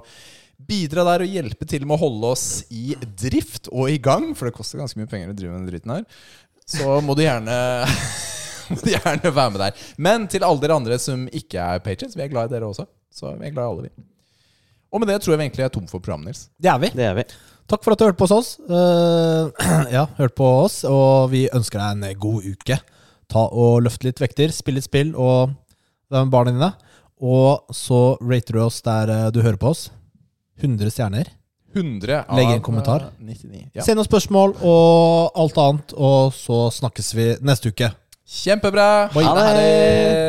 Speaker 2: bidra der og hjelpe til med å holde oss i drift og i gang, for det koster ganske mye penger å drive med den driten her, så må du gjerne *laughs* må du gjerne være med der. Men til alle dere andre som ikke er patrons, vi er glad i dere også. Så vi er glad i alle, vi. Og med det tror jeg vi egentlig er tom for program, Nils.
Speaker 1: Det er vi.
Speaker 3: Det er vi.
Speaker 1: Takk for at du hørte på hos oss. Eh, *clears throat* ja, hørte på oss, og vi ønsker deg en eh, god uke. Ta og Løft litt vekter, spill litt spill og det er med barna dine. Og så rater du oss der eh, du hører på oss. 100 stjerner.
Speaker 2: 100 av
Speaker 1: Legg en kommentar.
Speaker 2: eh, 99. Ja.
Speaker 1: Send oss spørsmål og alt annet, og så snakkes vi neste uke.
Speaker 2: Kjempebra!
Speaker 1: Oi.
Speaker 2: Ha det!